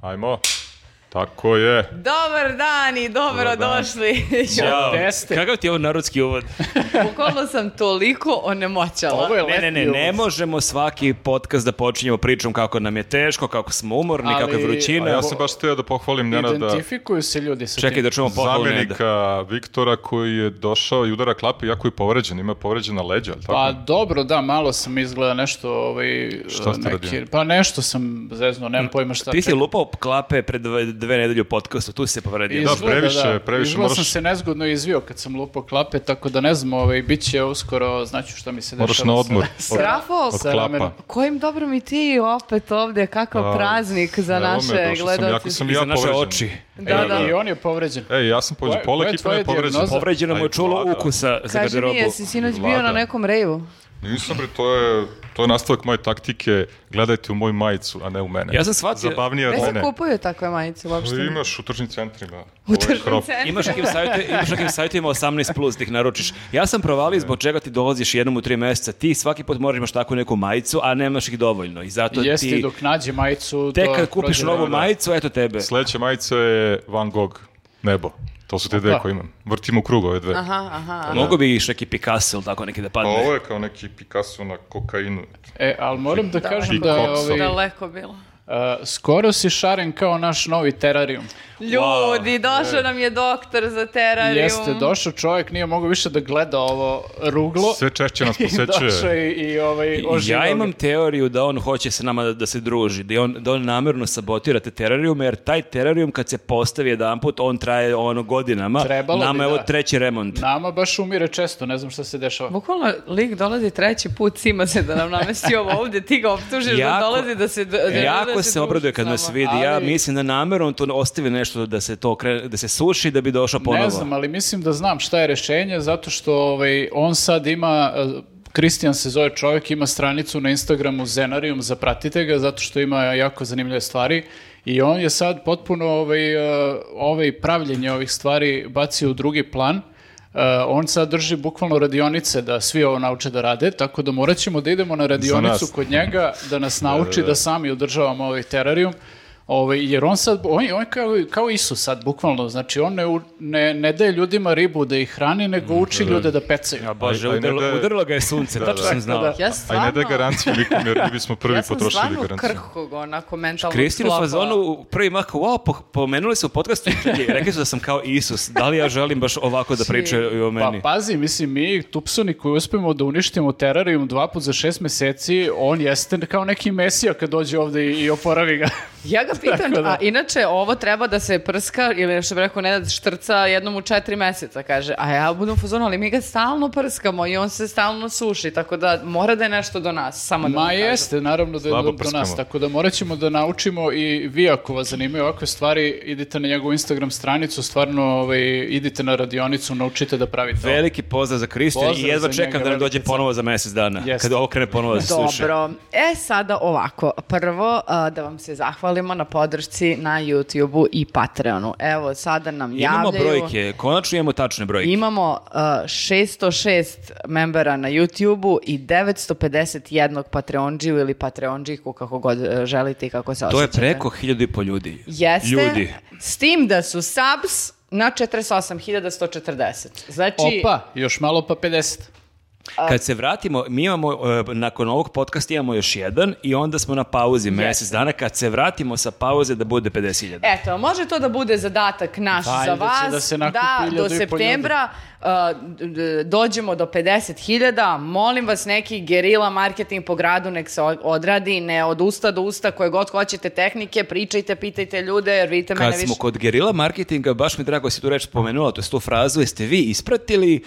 Ajmo. Tako je. Dobar dan i dobro Dobar dan. došli. Ćao. Jeste. Kakav ti je ovo narodski uvod? Bukvalno sam toliko onemoćala. Ovo je Ne, ne, ne, letnji ne uvod. možemo svaki podcast da počinjemo pričom kako nam je teško, kako smo umorni, Ali- pa kako je A vrućina. ja sam baš teo da pohvalim Nenada, Identifikuju se ljudi sa Čekaj tim. da čujemo pohvalu Neda. zamenika Viktora koji je došao i udara klape, jako je povređen, ima povređena leđa, ali tako? Pa dobro, da, malo sam izgleda nešto ovaj, Šta ste neki- radili? Pa nešto sam zeznuo, nemam pojma šta. Ti si Čekaj, lupao klape pred dve, dve nedelje u podcastu, tu si se povredio. Da, izgleda, previše, previše Izgleda sam moraš- se nezgodno izvio kad sam lupao klape, tako da ne znam, ovaj, bit će uskoro, znaću šta mi se dešava. Moraš na sa- odmor. sa- od- Rafo, od sa klapa. ramenom. kojim dobrom i ti opet ovdje, kakav A, praznik za evo me, naše došao sam, jako gledalce. sam I ja za naše povređen. oči. Da, E, da. I on je povređen. Ej, ja sam povređen, Koja- pola koja je ekipa tvoja je povređena. dijagnoza? Povređeno mu Aj, je čulo vlada. ukusa za Kaži garderobu. mi, jesi sinoć bio Vlada. na nekom reju? Nisam bre, to je, to je nastavak moje taktike, gledajte u moju majicu, a ne u mene. Ja sam shvatio- Zabavnije Ne od se mene. kupuju takve majice uopšte. Ali imaš u tržnim centrima. U Ovo je tržnim krop. centrima. Imaš nekim savjeti, imaš nekim savjetima 18 plus da ih naručiš. Ja sam provalio zbog čega ti dolaziš jednom u tri mjeseca. Ti svaki put moraš imaš takvu neku majicu, a nemaš ih dovoljno. I zato Jeste, ti... dok nađe majicu... Tek to kad kupiš prođe novu vreme. majicu, eto tebe. Sljedeća majica je Van Gogh, nebo. To su te dve Opa. koje imam. Vrtim u krug ove dve. Aha, aha. Mogu bi iš neki Picasso ili tako neki da Pa padne. ovo je kao neki Picasso na kokainu. E, ali moram da kažem da je Daleko. ovaj, Daleko bilo. a, skoro si šaren kao naš novi terarium. Ljudi, e. došao nam je doktor za terarijum. Jeste, došao čovjek, nije mogao više da gleda ovo ruglo. Sve češće nas I došao posećuje. i, i ovaj, I oživio Ja ga. imam teoriju da on hoće sa nama da, da se druži, da on, da on namjerno sabotira te terarijume, jer taj terarium kad se postavi jedan put, on traje ono godinama. Trebalo Nama bi, je ovo da. treći remont. Nama baš umire često, ne znam šta se Pa. dešava. Bukvalno lik dolazi treći put, sima se da nam namesti ovo ovdje, ti ga optužiš da Jako- dolazi da se... Da, da E, jako da se druži obraduje kad s nas nama. vidi. Ja ali- mislim da namjerno on tu ostavi nešto da se to krene, da se suši da bi došao ponovo. Ne znam, ali mislim da znam šta je rešenje, zato što ovaj, on sad ima, e, Kristijan se zove čovjek, ima stranicu na Instagramu Zenarium, zapratite ga, zato što ima jako zanimljive stvari. I on je sad potpuno ovaj, e, ovaj pravljenje ovih stvari bacio u drugi plan. E, on sad drži bukvalno radionice da svi ovo nauče da rade, tako da morat ćemo da idemo na radionicu nas. kod njega da nas nauči da, sami održavamo ovaj terarium. Ovaj, jer on sad, on, je- on je kao, kao Isus sad, bukvalno, znači on ne, u- ne, ne daje ljudima ribu da ih hrani, nego uči ljude Mm, da pecaju. A Bože, Aj, aj, ne udarlo, da- udarilo ga je sunce, tačno sam znao. da. ono. Ja A i stvarno... ne da garanciju nikom, jer mi bismo prvi ja sam potrošili stvarno garanciju. krhkog, onako mentalnog Kristina u sklopa. fazonu u prvi mah, wow, po- pomenuli su u podcastu, čekaj, rekli su da sam kao Isus, da li ja želim baš ovako da pričaju i o Pa meni? pazi, mislim, mi tupsoni koji uspemo da uništimo terarium dva put za šest meseci, on jeste kao neki mesija kad dođe ovde i, i oporavi ga. Ja ga pitam, Tako da. a inače ovo treba da se prska, ili što bi rekao Nenad, štrca jednom u četiri meseca, kaže. A ja budem u fazonu, ali mi ga stalno prskamo i on se stalno suši, tako da mora da je nešto do nas, samo da vam Ma kažem. jeste, naravno da je Slabo do, do nas, prskamo. tako da morat ćemo da naučimo i vi ako vas zanimaju ovakve stvari, idite na njegovu Instagram stranicu, stvarno ovaj, idite na radionicu, naučite da pravite ovo. Veliki pozdrav za Kristiju i Pozdrav jedva za čekam njega, da nam dođe veliki pozdrav. ponovo za mjesec dana, Jeste. kada ovo krene ponovo da se sluši. Dobro, e sada ovako, prvo a, da vam se zahvalimo na podršci na YouTube-u i Patreonu. Evo, sada nam Imamo javljaju... brojke, konačno imamo tačne brojke. Imamo uh, 606 membera na YouTube-u i 951 Patreonđiju ili Patreonđiku, kako god uh, želite i kako se To je osjećate. preko hiljadu i po ljudi. Jeste, Ljudi. s tim da su subs na 48.140. Znači, Opa, još malo pa 50. Kad se vratimo, mi imamo, e, nakon ovog podcasta imamo još jedan i onda smo na pauzi mjesec dana. Kad se vratimo sa pauze da bude 50.000. Eto, može to da bude zadatak naš Valjda za će vas, da se nakupi da do hiljadu i po septembra uh, d- d- dođemo do 50.000, molim vas neki gerila marketing po gradu nek se o- odradi, ne od usta do usta koje god hoćete tehnike, pričajte, pitajte ljude, jer vidite Kad mene više. smo kod gerila marketinga, baš mi drago si tu reč spomenula, to je tu frazu, jeste vi ispratili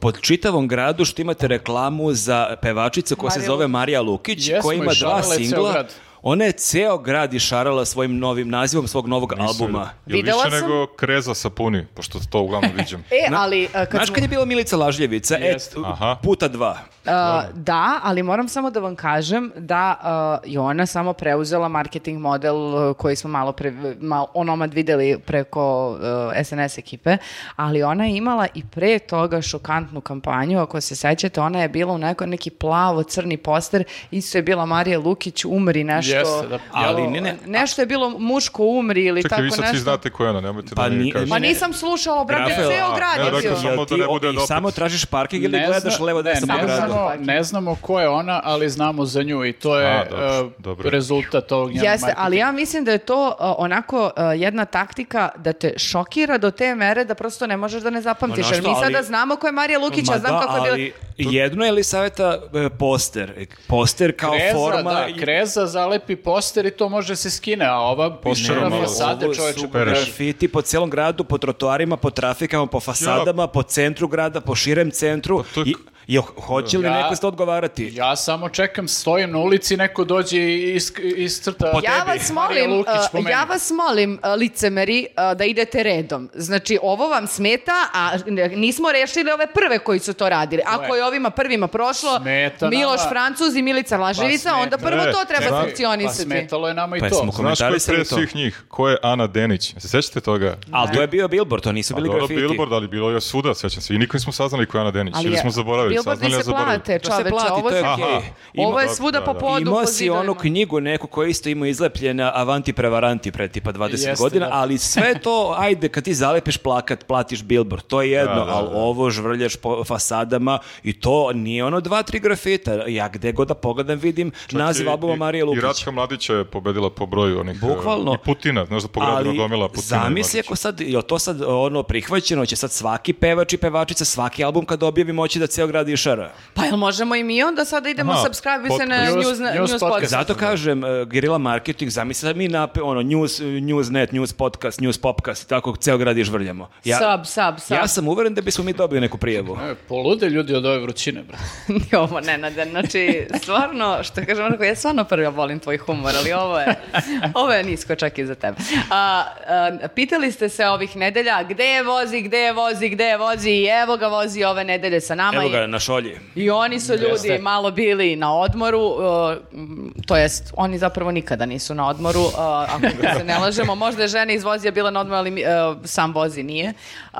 pod čitavom gradu što imate reklamu za pevačicu koja se Marija zove Marija Lukić, Jesmo, koja i ima dva šarala je ceo singla. grad. Ona je ceo grad išarala svojim novim nazivom svog novog albuma. Ili Videla više sam. nego kreza sapuni, pošto to uglavnom viđam. E, ali uh, kad Znaš smo- kad je bila Milica Lažljevica? E, Jeste. Aha. puta dva. Uh, da, ali moram samo da vam kažem da uh, je ona samo preuzela marketing model uh, koji smo malo, pre, mal, onomad videli preko uh, SNS ekipe, ali ona je imala i pre toga šokantnu kampanju, ako se sećate, ona je bila u neko, neki plavo-crni poster, isto je bila Marija Lukić, umri nešto. Jeste, da. Ali ne, ne. Nešto je bilo muško umri ili Čekaj, tako vi nešto. sad svi znate ko je ona, nemojte da Pa mi ni- kažete. Ma ne. nisam slušala, brate, Rafael, ceo a, grad ne, je dakle, bio. sam- Samo Jel ti da ne o- bude i opet. samo tražiš parking ili Ne gledaš zna- levo ne, desno ne po gradu? znamo, ne znamo ko je ona, ali znamo za nju i to je A, dobro, e, dobro. rezultat ovog njenog Jeste, marketinga. ali ja mislim da je to uh, onako uh, jedna taktika da te šokira do te mere da prosto ne možeš da ne zapamtiš. Ma, Jer mi znaš šta, ali- sada znamo ko je Marija Lukić, ja Ma znam da, kako je bila... ali jedno je li saveta poster? Poster kao Kreza, forma... da, i- kreza zalepi poster i to može se skine, a ova Posterom pišera malo. fasade Ovo čoveče su pereš. grafiti po celom gradu, po trotoarima, po trafikama, po fasadama, po centru grada, po širem centru. Pa to je I, je, hoće li Ja- neko sta odgovarati? Ja samo čekam, stojim na ulici i neko dođe i isk, iscrta... Po Ja tebi. vas Marija molim, Lukić uh, po meni. ja vas molim uh, licemeri uh, da idete redom. Znači ovo vam smeta, a n- nismo rešili ove prve koji su to radili. Ako je ovima prvima prošlo Smeta Miloš nama. Francuz i Milica Laževica, smeta. onda prvo Ne, to treba čekaj, Pa funkcionisati. smetalo je nama i Pa to. jesmo Znaš ko je komentarisali pre to? svih njih? Ko je Ana Denić? Se sećate toga? Ali to je bio billboard, to nisu Pa bili dobro, grafiti. Billboard, ali bilo je svuda, sećam se. I nikad nismo saznali ko je Ana Denić. ili je- smo zaboravili, Billboardi saznali, a se zaboravili. plate, To se čoveče, plati, ovo to je su- Aha. okej. Ima- Ovo je dobro, svuda da, po da. podu, Imao po si onu zidovima. knjigu neku koja je isto imao izlepljena Avanti prevaranti pre tipa 20 Jeste, godina, da. ali sve to, ajde, kad ti zalepiš plakat, platiš billboard, to je jedno, Da, da, ali da. ovo žvrljaš po fasadama i to nije ono dva, tri grafita. Ja gde god da pogledam vidim naziv I- albuma i- Marije Lukić. I Ratka Mladića je pobedila po broju onih... e, Bukvalno. I Putina, znaš da po gradu gomila Putina. i zamisli Mladića. ako sad, je to sad ono prihvaćeno, će sad svaki pevač i pevačica, svaki album kad objavi moći da ceo grad išara. Pa jel možemo i mi onda sada idemo Aha, subscribe se na podcast. news, News- news, news podcast. podcast. Zato kažem, uh, gerila marketing, zamisli sad mi nape, ono, news, newsnet, news podcast, news popcast, i tako ceo grad išvrljamo. Sub, sub, sub. Ja sam uveren da bismo mi dobili neku prijavu. E, Polude ljudi od ove vrućine, brate. Ni ovo Nenade, znači stvarno, što kažem, onako, ja stvarno prvo volim tvoj humor, ali ovo je, ovo je nisko čak i za tebe. A, a, pitali ste se ovih nedelja, gde je vozi, gde je vozi, gde je vozi i evo ga vozi ove nedelje sa nama. Evo i- ga, na šolji. I oni su ljudi Jeste. malo bili na odmoru, uh, m, to jest oni zapravo nikada nisu na odmoru, uh, ako se ne lažemo, možda je žena iz vozija bila na odmoru, ali mi- uh, sam vozi nije. Uh,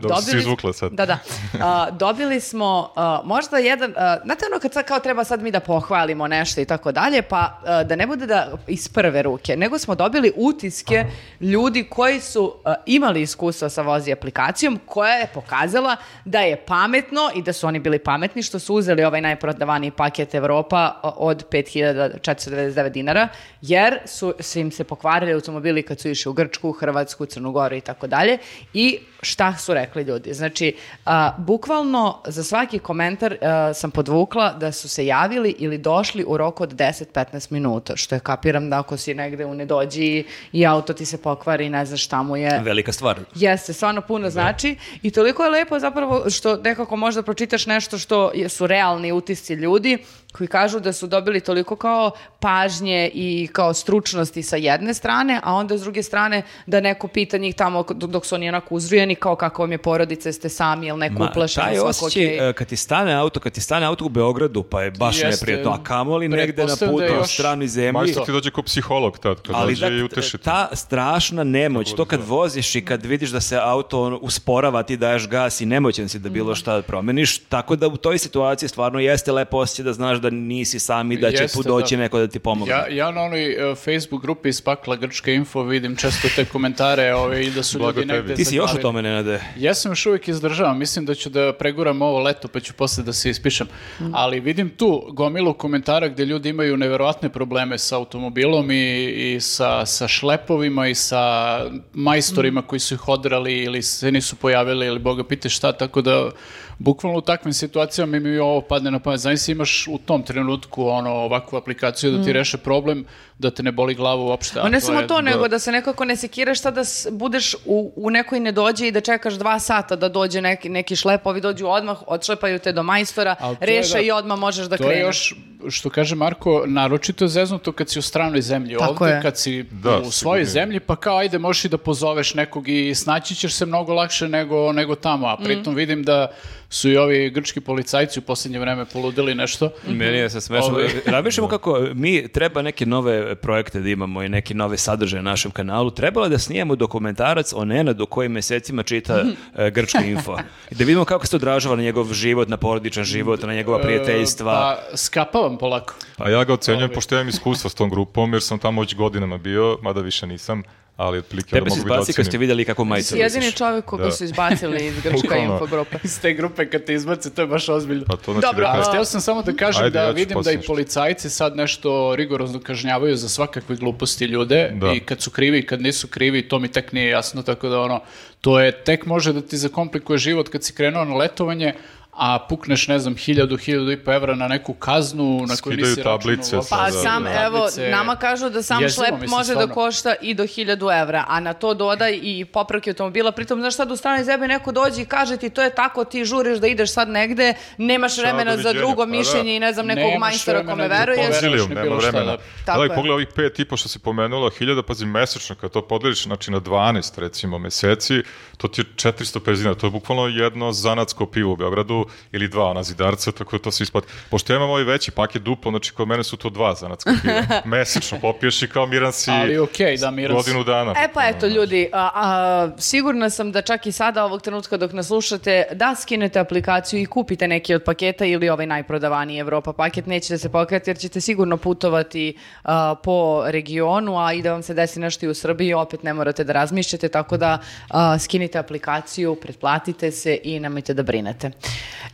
Dobro si izvukla sad. Da, da. Uh, dobili smo uh, možda jedan, uh, znate ono kad sad kao treba sad mi da pohvalimo nešto i tako dalje, pa uh, da ne bude da iz prve ruke, nego smo dobili utiske ljudi koji su uh, imali iskustva sa vozi aplikacijom koja je pokazala da je pametno i da su oni bili pametni što su uzeli ovaj najprodavaniji paket Evropa o- od 5499 dinara jer su su im se pokvarili automobili kad su išli u Grčku, Hrvatsku, Crnu Goru i tako dalje i šta su rekli ljudi. Znači, a, bukvalno za svaki komentar a, sam podvukla da su se javili ili došli u roku od 10-15 minuta, što je kapiram da ako si negde u nedođi i auto ti se pokvari, ne znaš šta mu je. Velika stvar. Jeste, stvarno puno znači i toliko je lepo zapravo što nekako možda pročitaš nešto što je- su realni utisci ljudi koji kažu da su dobili toliko kao pažnje i kao stručnosti sa jedne strane, a onda s druge strane da neko pita njih tamo dok dok su oni onako uzrujeni kao kako vam je porodica, jeste sami, jel neko uplašeno, taj svako osjećaj, okej. e, kad ti stane auto, kad ti stane auto u Beogradu, pa je baš Jeste. neprijatno, a kamoli negde na Pretpostavljam putu da je u još- stranoj zemlji. Majstor ti dođe kao psiholog tad, kad ali dođe i da, uteši te. ta strašna nemoć, to kad voziš i kad vidiš da se auto ono, usporava, ti daješ gas i nemoćan si da bilo šta promeniš, tako da u toj situaciji stvarno jeste lepo osjećaj da znaš da nisi sam i da će Jeste, tu doći da. neko da ti pomogne. Ja, ja na onoj e, Facebook grupi iz pakla Grčke info vidim često te komentare ove, i da su Blago ljudi tebi. negde ti si još o zaglavili. tome, Nenade. Ja sam još uvijek izdržavam, mislim da ću da preguram ovo leto pa ću posle da se ispišem. Mm. Ali vidim tu gomilu komentara gdje ljudi imaju neverovatne probleme sa automobilom i, i sa, sa šlepovima i sa Mm. majstorima koji su ih odrali ili se nisu pojavili ili boga pite šta, tako da bukvalno u takvim situacijama mi ovo padne na pamet. Znači imaš u tom trenutku ono, ovakvu aplikaciju da ti reše problem, da te ne boli glava uopšte. a A Mm. ne to samo je- to, nego da se nekako ne sekiraš šta da s- budeš u, u nekoj nedođe i da čekaš dva sata da dođe neki, neki šlepovi, dođu odmah, odšlepaju te do majstora, Ali to je reše da- i odmah možeš da to kreneš. je još što kaže Marko, naročito je zeznuto kad si u stranoj zemlji. Tako Ovde, je. kad si Da, u svojoj sigurnije. zemlji, pa kao ajde možeš i da pozoveš nekog i snaći ćeš se mnogo lakše nego, nego tamo. A Mhm. pritom vidim da su i ovi grčki policajci u posljednje vreme poludili nešto. Meni je se smešno. Ovaj. Razmišljamo kako mi treba neke nove projekte da imamo i neke nove sadržaje na našem kanalu. Trebalo je da snijemo dokumentarac o Nenadu koji mesecima čita e, grčko info. I da vidimo kako se to odražava na njegov život, na porodičan život, na njegova prijateljstva. Pa skapavam polako. A ja ga ocenjujem, pošto ja imam iskustva s tom grupom, jer sam tamo već godinama bio, mada više nisam, ali otprilike Tebe da se mogu biti izbaci kad ste ocenim. vidjeli kako Ti majicu si jedini nosiš. čovjek koga Da. su izbacili iz grčka Bukvalno. infogrupe. Iz te grupe kad te izbace, to je baš ozbiljno. Pa to znači Dobro, da a- kažem- Htio sam samo da kažem Ajde, da ja ću vidim da poslije i nešto. policajci sad nešto rigorozno kažnjavaju za svakakve gluposti ljude Da. i kad su krivi i kad nisu krivi, to mi tek nije jasno, tako da ono, to je tek može da ti zakomplikuje život kad si krenuo na letovanje, a pukneš, ne znam, hiljadu, hiljadu i po evra na neku kaznu na koju Skidaju nisi računao tablice uopšte. sa- Pa Da, sam, da. evo, Tablice- nama kažu da sam Jezivo, šlep mislim, može da stvarno. košta i do 1000 evra, a na to doda i popravke automobila. Pritom, znaš sad, u stranoj zemlji neko dođe i kaže ti to je tako, ti žuriš da ideš sad negde, nemaš vremena za doviđenja, drugo pa mišljenje da. i ne znam nekog Nemaš majstora vremena kome da veruješ. poveruješ. Konzilijum, ni nema bilo šta, vremena. da. Tako Da, i je. pogledaj ovih pet i po što si pomenula, hiljada, pazi, mesečno, kad to podeliš, znači na 12, recimo, meseci, to ti je 450 dinara, to je bukvalno jedno zanatsko pivo u Beogradu, ili dva ona zidarca, tako da to se isplati. Pošto ja imam ovaj veći paket duplo, znači kod mene su to dva zanatska piva. mesečno popiješ i kao miran si Ali okej, da, miran si. godinu dana. Ono. E pa eto ljudi, a, a, sigurna sam da čak i sada ovog trenutka dok nas slušate da skinete aplikaciju i kupite neki od paketa ili ovaj najprodavaniji Evropa paket, nećete se pokajati jer ćete sigurno putovati a, po regionu, a i da vam se desi nešto i u Srbiji, opet ne morate da razmišljate, tako da a, skinite aplikaciju, pretplatite se i nemojte da brinete.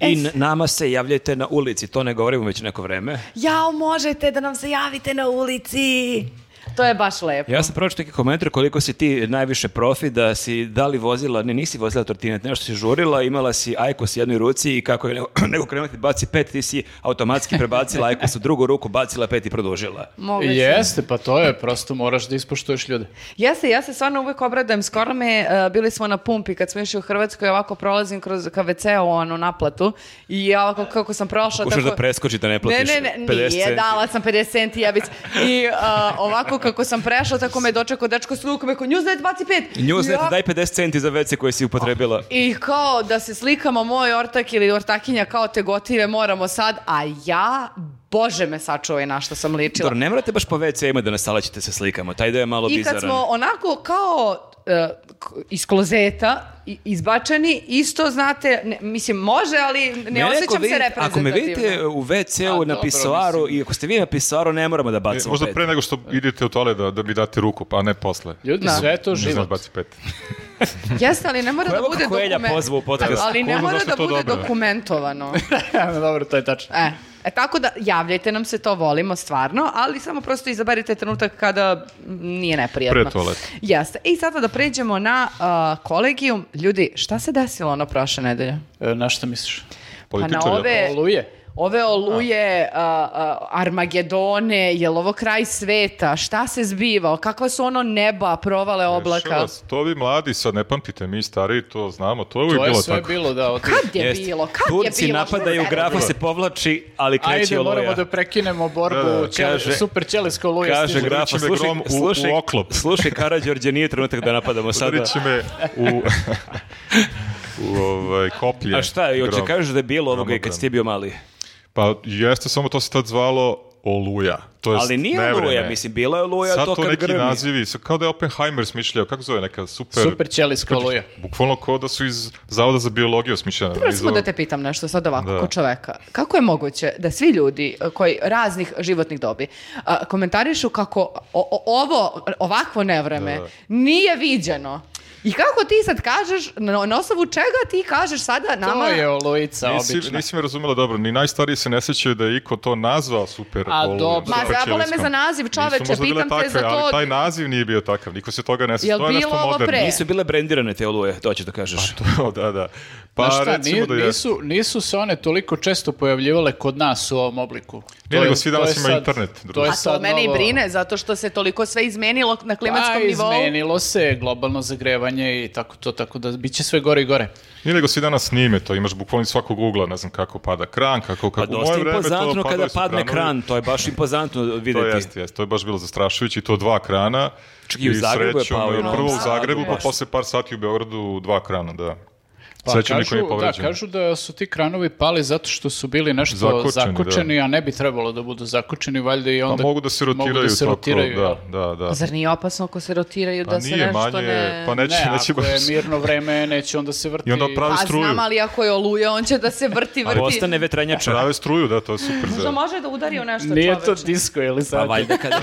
E, I n- nama se javljajte na ulici, to ne govorimo već neko vreme. jao, možete da nam se javite na ulici! To je baš lepo. Ja sam pročitao neki komentar koliko si ti najviše profi da si da li vozila, ne nisi vozila trotinet, nešto si žurila, imala si Ajkos u jednoj ruci i kako je neko, neko krenuo ti baci pet, ti si automatski prebacila Ajkos u drugu ruku, bacila pet i produžila. Moguće. Jeste, pa to je, prosto moraš da ispoštuješ ljude. Jeste, ja se stvarno uvek obradujem. Skoro me, e, bili smo na pumpi kad smo išli u Hrvatsku i ovako prolazim kroz kvc u onu naplatu i ja ovako kako sam prošla... Pokušaš tako- da preskoči da ne Ne, platiš ne, ne, 50 nije, centi. dala sam 50 centi jebic. I a, ovako kako sam prešla, tako me dočekao dečko s lukom, rekao, Newsnet 25! Newsnet, Ja- daj 50 centi za WC koje si upotrebila. I kao da se slikamo moj ortak ili ortakinja kao te gotive moramo sad, a ja, bože me sačuvaj na što sam ličila. Dobro, ne morate baš po WC-ima da nasalaćete se slikama, taj deo je malo I kad bizaran. smo onako kao e, k- iz klozeta i- izbačeni, isto znate, ne- mislim može, ali ne, Mene ako osjećam se vidite- reprezentativno. Ako me vidite u A, WC-u na dobro, pisoaru i ako ste vi na pisoaru, ne moramo da E, bacimo Možda pet. pre nego što idete u tole da, da mi date ruku, pa ne posle. Ljudi, Da. sve je to Ne znam, život. baci pet. Jeste, ali ne mora da Evo bude kako Elja dokumen- pozvao u podcast. Ali ne Pozvao mora zašto da to bude dobro. dokumentovano. pa- Dobro, to je tačno. E, e, tako da javljajte nam se, to volimo stvarno, ali samo prosto izaberite trenutak kada m, nije neprijatno. Pre toaleta. Jeste. I sada da pređemo na a, kolegijum. Ljudi, šta se desilo ono prošle nedelje? E, Na šta misliš? Pa na Političari, ove... Oluje? Ove oluje, a, a, Armagedone, je li ovo kraj sveta? Šta se zbiva? Kakva su ono neba, provale oblaka? Šalas, to vi mladi sad ne pamtite, mi stariji to znamo, to je uvijek To je bilo sve tako. bilo, da, od tih- Kad je Jeste. bilo? Kad Turci je bilo? napadaju, Šta je grafo bilo? se povlači, ali kreće Ajde, oluja. moramo da prekinemo borbu Da, da, da, kaže- super ćelijska oluja. Kaže stiže. grafa, me slušaj, grom u- slušaj, u oklop. slušaj Karađorđe, nije trenutak da napadamo sada. Udarit će me u, u ovaj, koplje. A šta, i hoće Grom. kažeš da je bilo ovoga i Gromobran. kad si ti bio mali. Pa jeste, samo to se tad zvalo oluja. To jest Ali nije nevreme. oluja, mislim, bila je oluja Sad to to, kad neki grmi. nazivi, sa- kao da je Oppenheimer smišljao, kako zove neka super... Super ćelijska Znači, oluja. Bukvalno kao da su iz Zavoda za biologiju smišljene. Prvo iz samo da ovog- te pitam nešto sad ovako, Da. ko čoveka. Kako je moguće da svi ljudi e, koji raznih životnih dobi a, komentarišu kako o- o- ovo, ovakvo nevreme Da. nije viđeno? I kako ti sad kažeš, na, na osnovu čega ti kažeš sada nama... To je olujica Nisi, obična. nisi me razumela dobro, ni najstariji se ne sećaju da je iko to nazvao super A, olujom, dobro. Ma super zabole me ćelijskom. za naziv, Nisu čoveče, možda bile pitam te takve, za to. Ali taj naziv nije bio takav, niko se toga ne Jel seća. To je bilo nešto ovo moderno. pre? Nisu bile brendirane te oluje, to ću da kažeš. To, da, da. Pa Znaš šta, recimo nije- da je. nisu, nisu se one toliko često pojavljivale kod nas u ovom obliku. To Nije, je- nego svi to danas je ima sad- internet, To druže. je A A to sad mene i novo- brine, zato što se toliko sve izmenilo na klimatskom Pa, nivou. izmenilo se globalno zagrevanje, odražavanje i tako to, tako da bit će sve gore i gore. Nije nego svi danas snime to, imaš bukvalno iz svakog ugla, ne znam kako pada kran, kako, Pa kako. U dosta moje vreme to impozantno padali kada su padne kranovi. kran, to je baš impozantno To vidjeti. jest, jest, to je baš bilo zastrašujuće i to dva krana. Čak i u Zagrebu je srećom, pao i u Novom Prvo u Sadu, Zagrebu, pa baš. posle par sati u Beogradu dva krana, da. Pa srećom niko kažu, nije da, povređen. kažu da su ti kranovi pali zato što su bili nešto Zakočeni, zakočeni, da. a ne bi trebalo da budu zakočeni, valjda i Pa onda mogu da se rotiraju, mogu da se tako, rotiraju, jel? da, da, da. Zar nije opasno ako se rotiraju Pa da se nije nešto manje, ne... pa neće, Ne, neće ako baš- je mirno vreme, neće onda se vrti. I onda pravi Pa struju. znam, ali ako je oluja, on će da se vrti, vrti. Postane vetranjača. Prave struju, da, to je super. Možda za- može da udari u nešto Nije to čoveče. disko, ili Pa sad? valjda kada,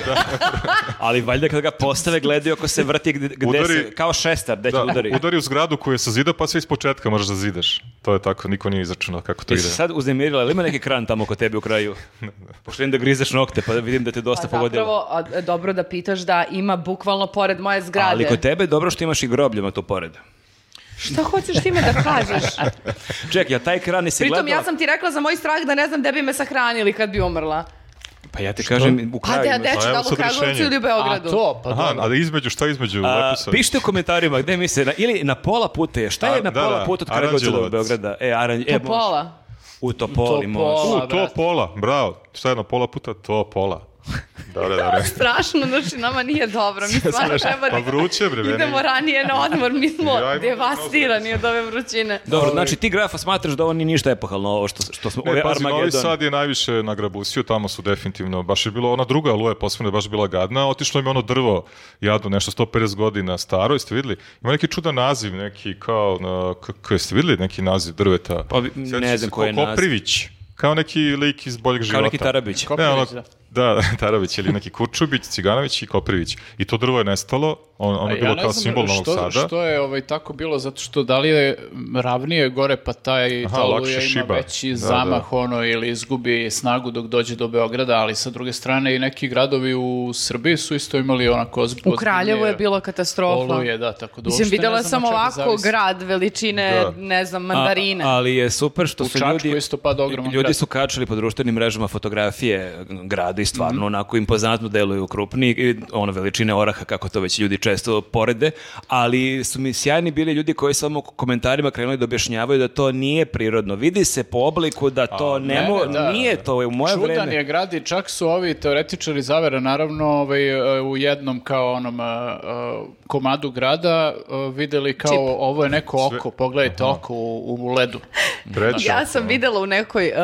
ali valjda kada ga postave gledaju ako se vrti gde, gde Udari- se, kao šestar, gde će Da, udari. udari u zgradu koju je sa zida, pa sve iz početka možeš da zidaš. To je tako, niko nije izračunao kako to Ti ide. si sad uznemirila, ili ima neki kran tamo kod tebe u kraju? Pošto vidim da grizeš nokte, pa vidim da te dosta Pa pogodilo. zapravo, a, dobro da pitaš da ima bukvalno pored moje zgrade. Ali kod tebe je dobro što imaš i grobljama tu pored. Šta hoćeš time da kažeš? Čekaj, ja taj kran nisi Pritom gledala? ja sam ti rekla za moj strah da ne znam gde bi me sahranili kad bi umrla. Pa ja ti kažem, u A kraju da, imaš. gde ću, evo da li u sad Kragujevcu rešenje. ili u A Beogradu? to, pa Aha, dobro. a da između, šta između? A, Lepo sad. pišite u komentarima gde mislite, na- ili na pola puta je, šta je A, na da, pola da, puta od Kragujevca do Aranđelovac. Beograda? E, Aranđ... e, može. Pola. U Topoli, U može. Topoli. U, Pola, to brate. pola, bravo. Šta je na pola puta? To pola. Da, da, da. Strašno, znači nama nije dobro. Mi stvarno treba Pa da vruće, bre, meni. idemo ranije na odmor. Mi smo Ja imam devastirani od ove vrućine. Dobro, znači ti grafa smatraš da ovo nije ništa epohalno, ovo što, što smo, ove Ne, pazi, Novi Armagedon. Sad je najviše nagrabusio, tamo su definitivno, baš je bilo ona druga aluje posebno je baš bila gadna, otišlo im je ono drvo jadno, nešto 150 godina staro, jeste vidjeli? Ima neki čudan naziv, neki kao, na, k- k- jeste vidjeli neki naziv drveta? Pa vi- Sjećam ne se, znam ko- koji je naziv. Koprivić, kao neki lik iz boljeg života. Kao neki Tarabić. Ne, ono- Koprivić, da. da, Tarabić ili neki Kurčubić, Ciganović i Koprivić. I to drvo je nestalo, on, ono je A bilo ne kao znam simbol Novog što, Sada. Što je ovaj, tako bilo, zato što da li je m, ravnije gore, pa taj Aha, ta oluja lakše ima šiba. veći Da, zamah ono, ili izgubi snagu dok dođe do Beograda, ali sa druge strane i neki gradovi u Srbiji su isto imali onako ozbiljne U Kraljevu je bilo katastrofa. Oluje, da, tako da Mislim, uopšte ne videla znam sam od čega ovako zavisi. grad veličine, Da. ne znam, A- mandarine. ali je super što U su Čačku ljudi... isto pada ogroman Ljudi grad. su kačali po društvenim mrežama fotografije grada i stvarno Mhm. onako impozantno deluju krupni i ono veličine oraha kako to već ljudi često porede, ali su mi sjajni bili ljudi koji samo u komentarima krenuli da objašnjavaju da to nije prirodno. Vidi se po obliku da to ne, ne, mo- da. nije to je u moje Čudan vreme. je grad i čak su ovi teoretičari zavera naravno ovaj, e, u jednom kao onom e, e, komadu grada e, videli kao ovo je neko oko, pogledajte oko u, u ledu. Treća. Ja sam videla u nekoj uh, uh,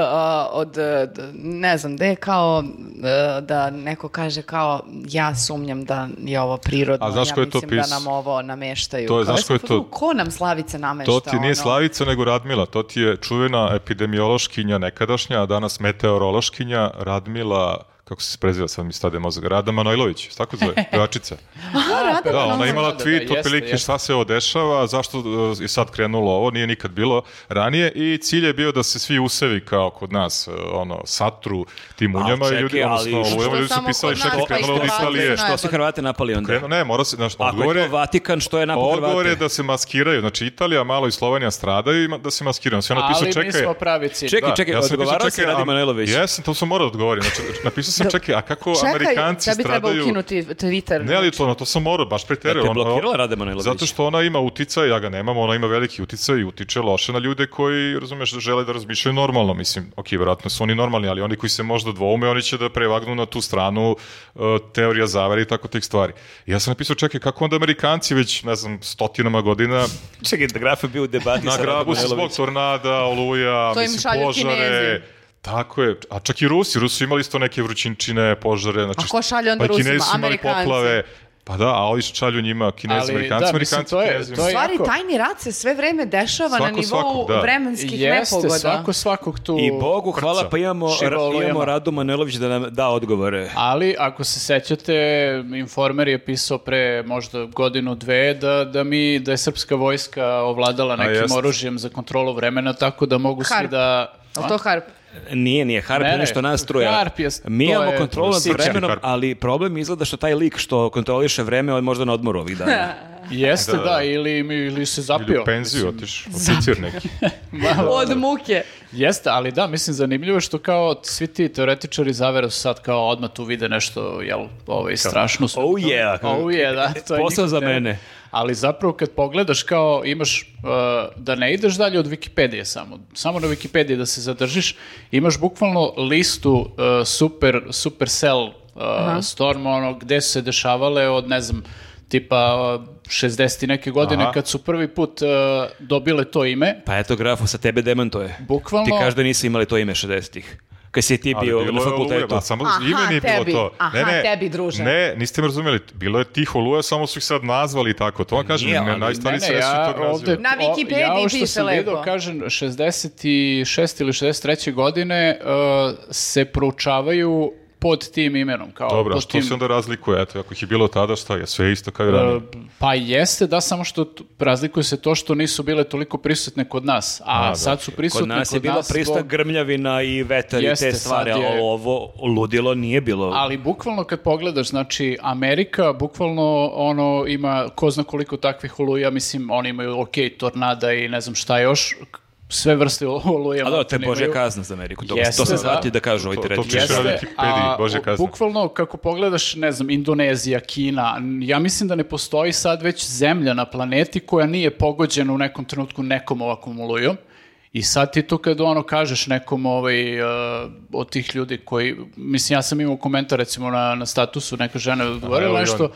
od, uh, d- ne znam, da je kao, uh, da neko kaže kao, ja sumnjam da je ovo prirodno, A znaš ja ko je to mislim da pis- nam ovo nameštaju. To je, Kao, znaš ja sam ko je u fazonu, to- Ko nam Slavice namešta? To ti nije ono? Slavica, nego Radmila. To ti je čuvena epidemiološkinja nekadašnja, a danas meteorološkinja Radmila, kako se preziva sad mi stade mozak, Rada Manojlović, se tako zove, pevačica. Aha, Da, Rada ona Manojlović. je imala Da, da, tweet jeste, otprilike jeste. šta se ovo dešava, zašto uh, je sad krenulo ovo, nije nikad bilo ranije i cilj je bio da se svi usevi kao kod nas, uh, ono, satru tim Al, munjama i čekaj, ljudi, ali odnosno, što- olujama, ljudi su samo pisali kod šta nas, pa krenulo od isto tako Italije, znaju. Što su Hrvate napali onda? Krenulo- ne, mora se, znaš, Ako odgovor je je- to Vatikan, što je napao Hrvate? Odgovor je da se maskiraju, znači Italija, malo i Slovenija stradaju, ima- da se maskiraju. Sve napisao, Ali mi čekaj, smo pravi cilj. Čekaj, Da, čekaj, ja sam odgovarao napisao, si čekaj, Radi a- Manojlović. Jesam, to sam morao odgovoriti. Znači, napisao sam, čekaj, a kako Amerikanci da bi treba stradaju... ukinuti Twitter. Ne, ali to, ono, to sam morao, baš preterao. Da te ono, blokirala Rade Manojlović? Zato što ona ima uticaj, ja ga nemam, ona ima veliki uticaj i utiče loše na ljude koji, razumeš, žele da razmišljaju normalno. Mislim, ok, vjerojatno su oni normalni, ali oni koji se možda dvoume, oni će da prevagnu na tu stranu uh, teorija zavere i tako tih stvari. I ja sam napisao, čekaj, kako onda Amerikanci već, ne znam, stotinama godina Čekaj, da graf je bio u debati na sa Radom grabu se zbog Manojlovićem. tornada, oluja, To im mislim, šalju požare. Kinezi. Tako je. A čak i Rusi, Rusi su imali isto neke vrućinčine, požare. Znači, A ko šalje onda pa i Kinezi Rusima? su imali Amerikanci. poplave. Pa da, a ovi šalju njima, Kinezi, Ali, Amerikanci, da, mislim, Amerikanci, to je- Kinezi. to U je- stvari, Jako. tajni rat se sve vreme dešava na Svako nivou svakog, da. vremenskih Jeste, nepogoda. svako svakog tu... I Bogu hvala, Prca. pa imamo, Širolojama. imamo Radu Manojlović da nam da odgovore. Ali ako se sećate, Informer je pisao pre možda godinu, dve, da, da, mi, da je srpska vojska ovladala nekim jest. oružjem za kontrolu vremena, tako da mogu svi Harp. da... Jel to harp? Nije, nije, Harp je Ne, ne, nešto nas struja. Harp je- Mi to imamo je kontrolu nad sićan vremenom, Harp. ali problem izgleda što taj lik što kontroliše vreme, on je možda na odmoru ovih dana. Jeste, Da, da, da. ili, ili se zapio. Ili u penziju otiš, oficir neki. Malo- Od muke. Jeste, ali da, mislim, zanimljivo je što kao svi ti teoretičari zavera su sad kao odmah tu vide nešto, jel, ovaj, strašno. su- Oh yeah. Oh yeah, da. To je Posao njihov za teren. mene. Ali zapravo kad pogledaš kao imaš, uh, da ne ideš dalje od Wikipedije samo, samo na Wikipediji da se zadržiš, imaš bukvalno listu uh, super, Supercell uh, Storm, ono, gde su se dešavale od, ne znam, tipa uh, 60 i neke godine Aha. kad su prvi put uh, dobile to ime. Pa eto, grafu, sa tebe demantuje. Bukvalno- Ti kažeš da nisi imali to ime 60-ih. Kad si ti Ali bio bilo na je fakultetu. oluja, ma, samo Aha, ime nije tebi, bilo to. aha, tebi, druže. Ne, niste me razumeli. Bilo je tih oluja, samo su ih sad nazvali tako. To vam kažem, nije, ne, ali- najstariji Ne, sve ne, su ja to ovde- nazivali. Na o- Wikipediji ja ovo piše što sam lepo. video, kažem, 66. ili 63. godine uh, se proučavaju pod tim imenom. Kao Dobro, a pod što tim- se onda razlikuje? Eto, ako ih je bilo tada, šta je? Sve isto kao i ranije. E, Pa jeste, da, samo što t- razlikuje se to što nisu bile toliko prisutne kod nas, a, da. sad su prisutne Kod kod nas. nas je bila zbog- prista grmljavina i vetar i Jeste, te stvari, sad je- ali ovo ludilo nije bilo. Ali bukvalno kad pogledaš, znači Amerika bukvalno ono ima ko zna koliko takvih oluja, mislim oni imaju ok, tornada i ne znam šta još, k- sve vrste oluja. A da, to maltene je Božja imaju. kazna za Ameriku. To, Jeste, to sam da. shvatio da kažu ovi To- to teoretičari. piše na Jeste, Wikipediji, Bože o- kazna. bukvalno kako pogledaš, ne znam, Indonezija, Kina, n- ja mislim da ne postoji sad već zemlja na planeti koja nije pogođena u nekom trenutku nekom ovakvom olujom. I sad ti to kad ono kažeš nekom ovaj, e, od tih ljudi koji, mislim ja sam imao komentar recimo na, na statusu, neka žena je evo odgovorila i nešto on.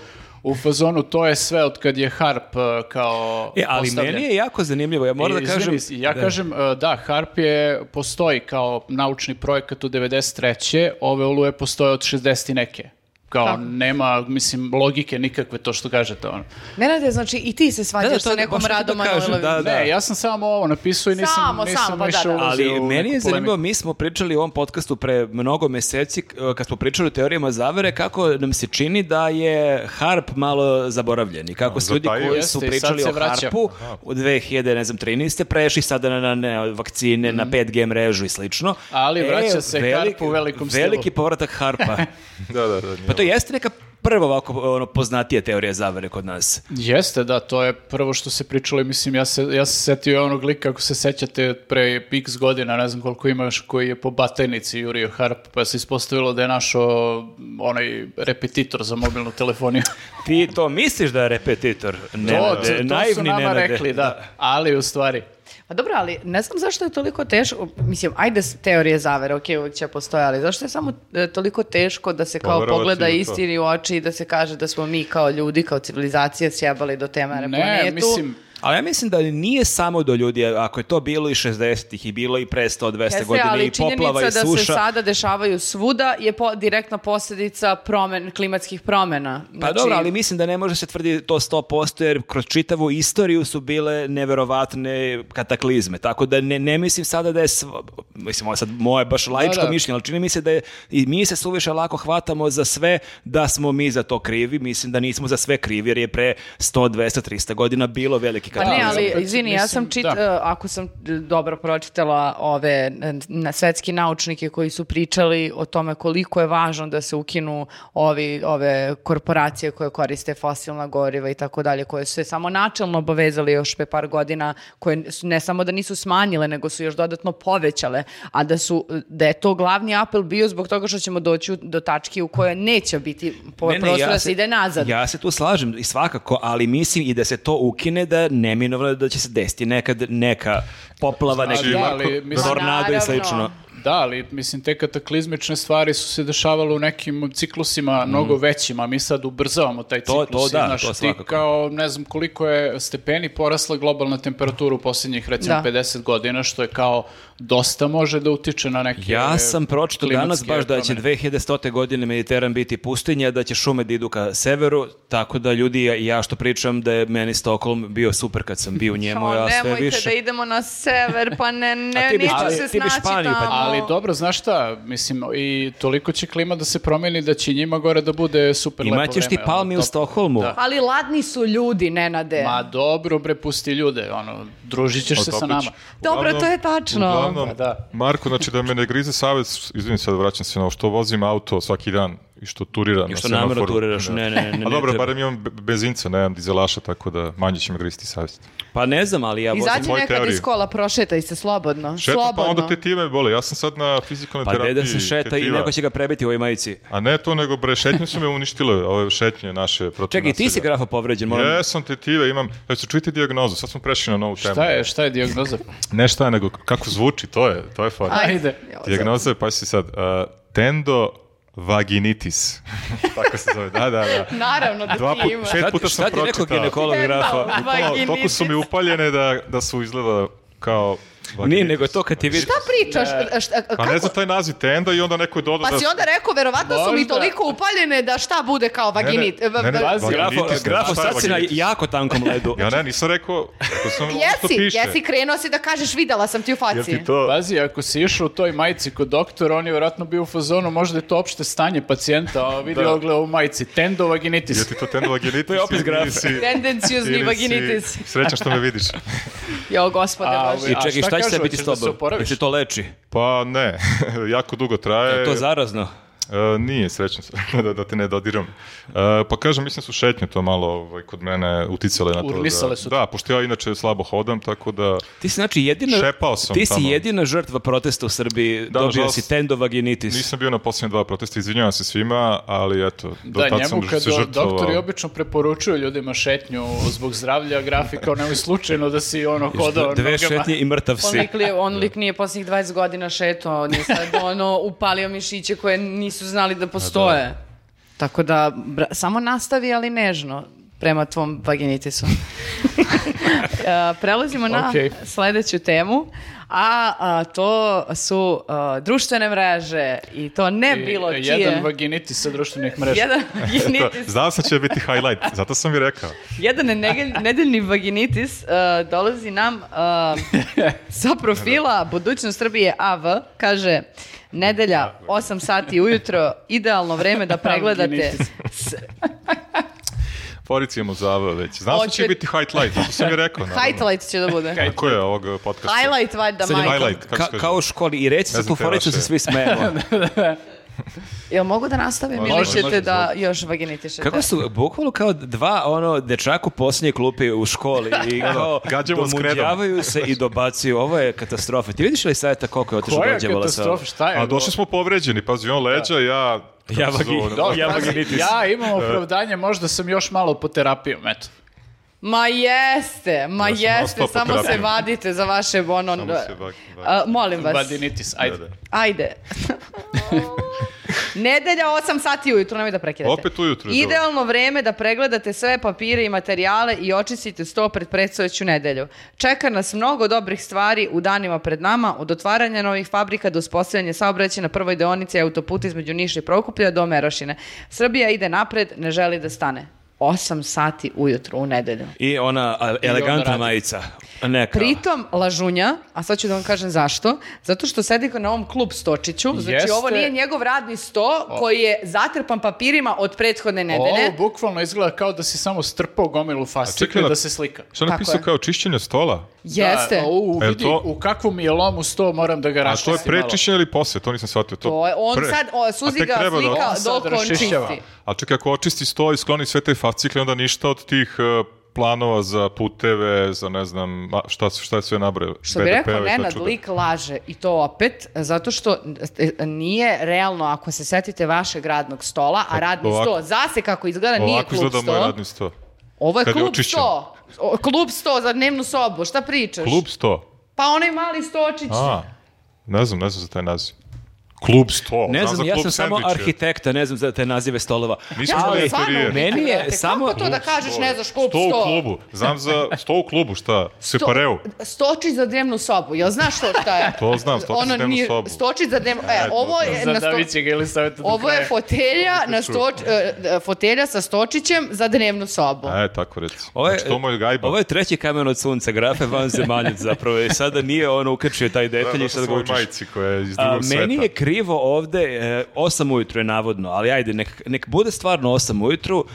u fazonu, to je sve od kad je Harp e, kao E, ali postavljen. meni je jako zanimljivo, ja moram I, da E, izvini, kažem... ja E, Da. kažem, e, da, HARP je, postoji kao naučni projekat u 93. Ove oluje postoje od 60 i neke. Kao, Tako. nema, mislim, logike nikakve to što kažete. Ono. Nenade, znači i ti se Da, da, svađaš to- sa nekom baš hoću da Radom kažem, Manojlović. Pa da, Ne, ja sam samo ovo napisao i nisam, Samo, nisam samo, pa da, išao da. ulazio Ali u meni neku je zanimljivo, polemiku. mi smo pričali u ovom podcastu pre mnogo meseci k- e, kad smo pričali o teorijama zavere kako nam se čini da je harp malo zaboravljen i kako su ljudi Zatajio. koji su Jeste, i sad pričali se o vraća. harpu u 2013. prešli sada na, na, na vakcine, na 5G mrežu i slično. Mhm. E, Ali vraća se harp u velikom stilu. Veliki povratak harpa. E, Da, da, da. nije. pa to jeste neka prva ovako ono, poznatija teorija zavere kod nas. Jeste, da, to je prvo što se pričalo i mislim, ja se, ja se setio onog lika, ako se sećate, pre x godina, ne znam koliko imaš, koji je po batajnici jurio harp, pa se ispostavilo da je našo onaj repetitor za mobilnu telefoniju. Ti to misliš da je repetitor? to, Nenade, to, to su naivni nama Nenade. rekli, da, ali u stvari... Pa dobro, ali ne znam zašto je toliko teško, mislim, ajde s- teorije zavere, ok, uvijek će postoje, ali zašto je samo e, toliko teško da se kao Poverovati pogleda u Pa to. istini u oči i da se kaže da smo mi kao ljudi, kao civilizacija sjebali do temare Ne, planetu? mislim, Ali ja mislim da nije samo do ljudi, ako je to bilo i 60-ih i bilo i pre 100-200 Jeste, godina ali i poplava i činjenica da se suša. sada dešavaju svuda je po, direktna posljedica promen, klimatskih promena. Znači, Pa dobro, ali mislim da ne može se tvrdi to 100% jer kroz čitavu istoriju su bile neverovatne kataklizme. Tako da ne, ne mislim sada da je, sv- mislim ovo je sad moje baš laičko da. mišljenje, ali čini mi se da je, i mi se suviše lako hvatamo za sve da smo mi za to krivi. Mislim da nismo za sve krivi jer je pre 100, 200, 300 godina bilo veliki Pa ne, kataklizam. ali Mislim, izvini, ja sam mislim, čit, da. e, ako sam e, dobro pročitala ove e, na, svetski naučnike koji su pričali o tome koliko je važno da se ukinu ovi, ove korporacije koje koriste fosilna goriva i tako dalje, koje su se samo načelno obavezali još pre par godina, koje su- ne samo da nisu smanjile, nego su još dodatno povećale, a da su e, da je to glavni apel bio zbog toga što ćemo doći u- do tačke u kojoj neće biti po, Ne, ne, prostora ja ovaj da se ide nazad. Ja se tu slažem i svakako, ali mislim i da se to ukine da neminovno je da će se desiti nekad neka poplava, Znači, neki da, ali mislim- tornado i Naravno. slično. da, ali mislim, te kataklizmične stvari su se dešavale u nekim ciklusima mnogo većima, a mi sad ubrzavamo taj Mm. To- ciklus. to i, da, znaš, to ti svakako. kao, ne znam koliko je stepeni porasla globalna temperatura u posljednjih, recimo, Da. 50 godina, što je kao dosta može da utiče na neke Ja sam pročito danas klimatske baš da će promene. 2100. godine Mediteran biti pustinja, da će šume da idu ka severu, tako da ljudi, ja- ja što pričam da je meni Stockholm bio super kad sam bio u njemu, O, ja sve Pa nemojte više. da idemo na sever, pa ne, ne, A ti bi- neću ali se ti bi snaći Španiju, pa- tamo. Ali dobro, znaš šta, mislim, i toliko će klima da se promeni da će njima gore da bude super lepo vreme. Imaćeš ti ono, palmi u top. Stockholmu. Da. Ali ladni su ljudi, Nenade. Ma dobro, bre, pusti ljude, ono, družit ćeš se sa Otopić. nama. Dobro, Uglavnom- to je tačno. Uglavnom, Pa da. Marko, znači da me ne grize savjet, izvinim sad vraćam se na ovo što vozim auto svaki dan I što turira I na što semaforu. namjerno turiraš, ne, ne, ne. ne, A Pa dobro, treba. barem imam be- benzinca, nemam dizelaša, tako da manje će me gristi savjest. Pa ne znam, ali ja vozim... Izađi moje nekad teorije. iz kola, prošetaj se slobodno. Šetam, pa slobodno. onda te time bole. Ja sam sad na fizikalnoj Pa terapiji. ne da se šeta i tetiva. neko će ga prebiti u ovoj majici. A ne to, nego bre, šetnje su me uništile, ove šetnje naše protiv Čekaj, ti si nasilja. grafa povređen, moram... Jesam tetive, imam, evo se čujte dijagnozu, sad smo prešli na novu temu. Šta je, šta je dijagnoza? Ne šta je, nego kako zvuči, to je, to je fora. Ajde. Jao, Dijagnoza je, pa si sad, uh, tendo vaginitis. Tako se zove, da, da, da. Naravno da Dva ti put- ima. šest- Šta ti- puta sam šta ti rekao pročitao. ginekolog grafa? Dental Malo, toliko su mi vaginitis. upaljene da, da su izgleda kao vaginitis. Nije, nego to kad ti vidiš... Šta pričaš? Šta, Pa ne kako? znam taj naziv tenda i onda neko je dodao Pa si onda rekao, verovatno su mi Možda. toliko upaljene da šta bude kao vaginit. Ne, ne, ne, ne, Pazi, vaginitis, Grafo, ne znam grafo šta je sad si na vaginitis. jako tankom ledu. Ja ne, nisam rekao, rekao sam ono što Jesi, piše. jesi, krenuo si da kažeš videla sam ti Jel u faci. ti to... Pa- Pazi, ako si išao u toj majici kod doktora, on je vjerojatno bio u fazonu, možda je to opšte stanje pacijenta, a vidi Da. ogle u majici, tendovaginitis. Jel ti to tendo vaginitis? To je opis ili grafe. si- Tendenciozni ili si- vaginitis. Srećan što me vidiš. Jo, gospode A, Bože. ove- I čekaj, šta šta će kažu, se biti s hoćeš da se tobom? oporaviš? Jel ti to leči? Pa ne, jako dugo traje. To zarazno. E, nije, srećan sam da, da te ne dodiram. E, pa kažem, mislim su šetnje to malo ovaj, kod mene uticale na to. da, Urnisale su te. Da, pošto ja inače slabo hodam, tako da... Ti si znači jedina... Šepao sam Ti si tamo. jedina žrtva protesta u Srbiji. Da, Dobio žalost- si tendovaginitis. Nisam bio na posljednje dva protesta, izvinjavam se svima, ali eto, do Da, tad njemu sam kad se žrtvovao. doktori obično preporučuju ljudima šetnju zbog zdravlja, grafika, kao nemoj slučajno da si ono hodao Dve nogama. šetnje i mrtav On si. lik, li- on lik nije posljednjih 20 godina šetao, on je sad ono upalio mišiće koje nisu znali da postoje. Tako da, bra- samo nastavi, ali nežno prema tvom vaginitisu. E, Prelazimo na Okej. sledeću temu, a, a, to su a, društvene mreže i to ne I E, bilo čije. Jedan vaginitis sa društvenih mreža. Jedan vaginitis. Znao sam će biti highlight, zato sam i rekao. Jedan negelj- nedeljni vaginitis uh, dolazi nam uh, sa profila Budućnost Srbije AV. Kaže, nedelja, 8 sati ujutro, idealno vreme da pregledate. Vaginitis. s- Porici imamo zava već. Znao sam će Hoće- biti highlight, zato sam i rekao. naravno. Highlight će da bude. Tako je ovog podcasta. Highlight valjda, Sad je Michael. highlight, kako Ka- se kaže? kao u školi i reci Ne sa znam tu te foricu vaše. se svi smejemo. Jel mogu da nastavim Može, ili može, ćete da izvolite. još vaginitišete? Kako su bukvalno kao dva ono dečaka u posljednje klupi u školi i kao Ono, gađamo s kredom. domuđavaju se i dobacuju. Ovo je katastrofa. Ti vidiš li sajta koliko je otišao Koja dođevala sa katastrofa, šta je? A došli smo povređeni, pazi, on leđa, ja... kako Ja se vagi- zove, Do- ono, ja ja, vaginitis. ja imam opravdanje, možda sam još malo po terapijom, eto. Ma jeste, ma Ja sam jeste, ostao po samo se terapiji. vadite za vaše ono... Samo se vag- A, molim vas. Vaginitis, ajde. Da, da. Ajde. Nedelja 8 sati ujutru, nemoj da prekidate. Opet ujutru je Idealno vreme da pregledate sve papire i materijale i očistite sto pred predstojeću nedelju. Čeka nas mnogo dobrih stvari u danima pred nama, od otvaranja novih fabrika do uspostavljanja saobraćaja na prvoj deonici autoputa između Niša i Prokuplja do Merošine. Srbija ide napred, ne želi da stane. 8 sati ujutru u nedelju. I ona a, onda elegantna radi. majica. Neka. Pritom lažunja, a sad ću da vam kažem zašto, zato što sedi na ovom klub stočiću, znači Jeste. ovo nije njegov radni sto koji je zatrpan papirima od prethodne nedelje. Ovo bukvalno izgleda kao da si samo strpao gomilu A čekaj, fascikle da- da se slika. Šta je Tako napisao je. kao čišćenje stola? Jeste. Da, u, Jel vidi, E, to- u kakvom je lomu sto moram da ga A to je raščistim malo. prečišćenje ili posle? To nisam shvatio. To, To je, on pre. sad, o, Suzi A tek ga treba da- slika On sad dok on čisti. raščišćava. A čekaj, ako očisti sto i skloni sve te fascikle, onda ništa od tih e, planova za puteve, za ne znam, a, šta, šta je sve nabrao. Što bi rekao Nenad, lik laže i to opet, zato što e, nije realno, ako se setite vašeg radnog stola, a radni ovako- sto, zase kako izgleda, nije Ovako klub izgleda moj sto. radni sto. Ovo je kad je klub očišćen. sto. O, Klub sto za dnevnu sobu, šta pričaš? Klub sto? Pa onaj mali stočić. A, ne znam, ne znam za taj naziv. Klub sto. Ne znam, za ja klub sam samo sendviče. arhitekta, ne znam za te nazive stolova. Nisam sam ali- stvarno Meni ubitna, je brate. samo- Kako to da kažeš, ne znaš, klub Sto u 100? klubu. Znam za sto u klubu, šta? Separeu. Stočić za dnevnu sobu, jel znaš to šta je? To znam, stočić za Ono dnevnu nije- sobu. Stočić za dnevnu... E, to ovo je... Za na sto- Davića ga ili savjeta do Ovo je kraja. fotelja, na čuo. stoč, e, e, fotelja sa stočićem za dnevnu sobu. E, tako reci. Ovo je, znači, to mu je gajba. ovo je treći kamen od sunca, grafe van zemaljac zapravo. I sada nije ono ukrčio taj detalj i Gledao sam sada ga svoju učiš. majici koja je iz A, drugog sveta. meni je krivo ovde, e, 8 ujutru je navodno, ali ajde, nek, nek bude stvarno 8 ujutru,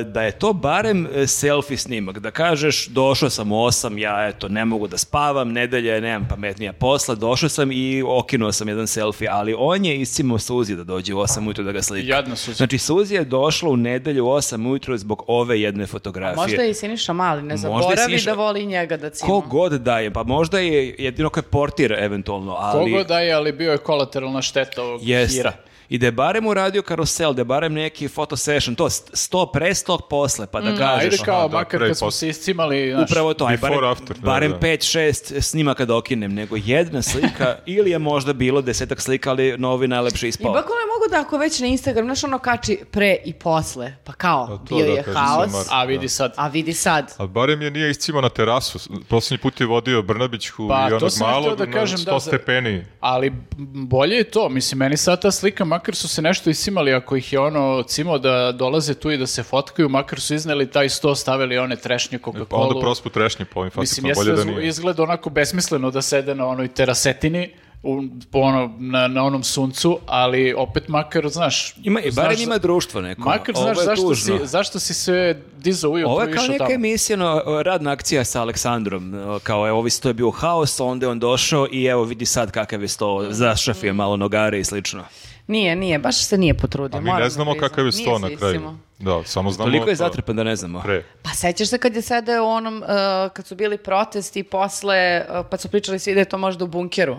e, da je to barem e, selfie snimak, da kažeš došao sam u osam, ja eto ne mogu da spavam, nedelja je, nemam pametnija posla, došao sam i okinuo sam jedan selfie, ali on je iscimo Suzi da dođe u osam ujutro da ga slika. Jadna Suzi. Znači Suzi je došla u nedelju u osam ujutro zbog ove jedne fotografije. Možda je i Siniša Mali, ne Možda je zaboravi Siniša- da voli i njega da cima. Ko god daje, pa možda je jedino ko je portir eventualno, ali... Kogo da je, ali bio je kolateralna šteta ovog Jeste. hira. I da je barem uradio karusel, da je barem neki foto session, to st- sto pre, sto posle, pa da kažeš. Mm, Ajde kao, da, makar pre i kad smo posle. se iscimali, znaš, Upravo to, aj, Before, barem, after, da, barem da. 5-6 snimaka da okinem, nego jedna slika, ili je možda bilo desetak slika, ali novi najlepši I ispao. bakole mogu da ako već na Instagram, znaš ono kači pre i posle, pa kao, A to bio da je kaže haos, Samar. a vidi sad. a vidi sad. Ali barem je nije iscimao na terasu. S- Poslednji put je vodio Brnabićku Pa, i to onog sam hteo malog da kažem, na 100 da, za- stepeni. Ali b- bolje je to, mislim, meni sad ta slika, makar su se nešto isimali, ako ih je ono cimo da dolaze tu i da se fotkaju, makar su izneli taj sto, stavili one trešnje Coca-Cola. Pa onda prospu trešnje po ovim Mislim, fasikama, jeste pa bolje da da zvu- nije. izgleda onako besmisleno da sede na onoj terasetini, u, po ono, na, na onom suncu, ali opet makar, znaš... Ima, i znaš barem za- ima društvo neko. Makar Ovo znaš je zašto si, tužno. zašto si se dizao ujutru Ovo i je kao išao neka tamo. emisija, no, radna akcija sa Aleksandrom, no, kao evo, ovi sto je bio haos, onda je on došao i evo vidi sad kakav je sto, zašrafio je malo nogare i slično. Nije, nije, baš se nije potrudio. A mi ne moram znamo da priznam. kakav je Nije sto se na kraju. iscimao. Da, samo znamo... Toliko je da, zatrpan da ne znamo. Pre. Pa sećaš se kad je sada u onom, uh, kad su bili protesti posle, uh, pa su pričali svi da je to možda u bunkeru.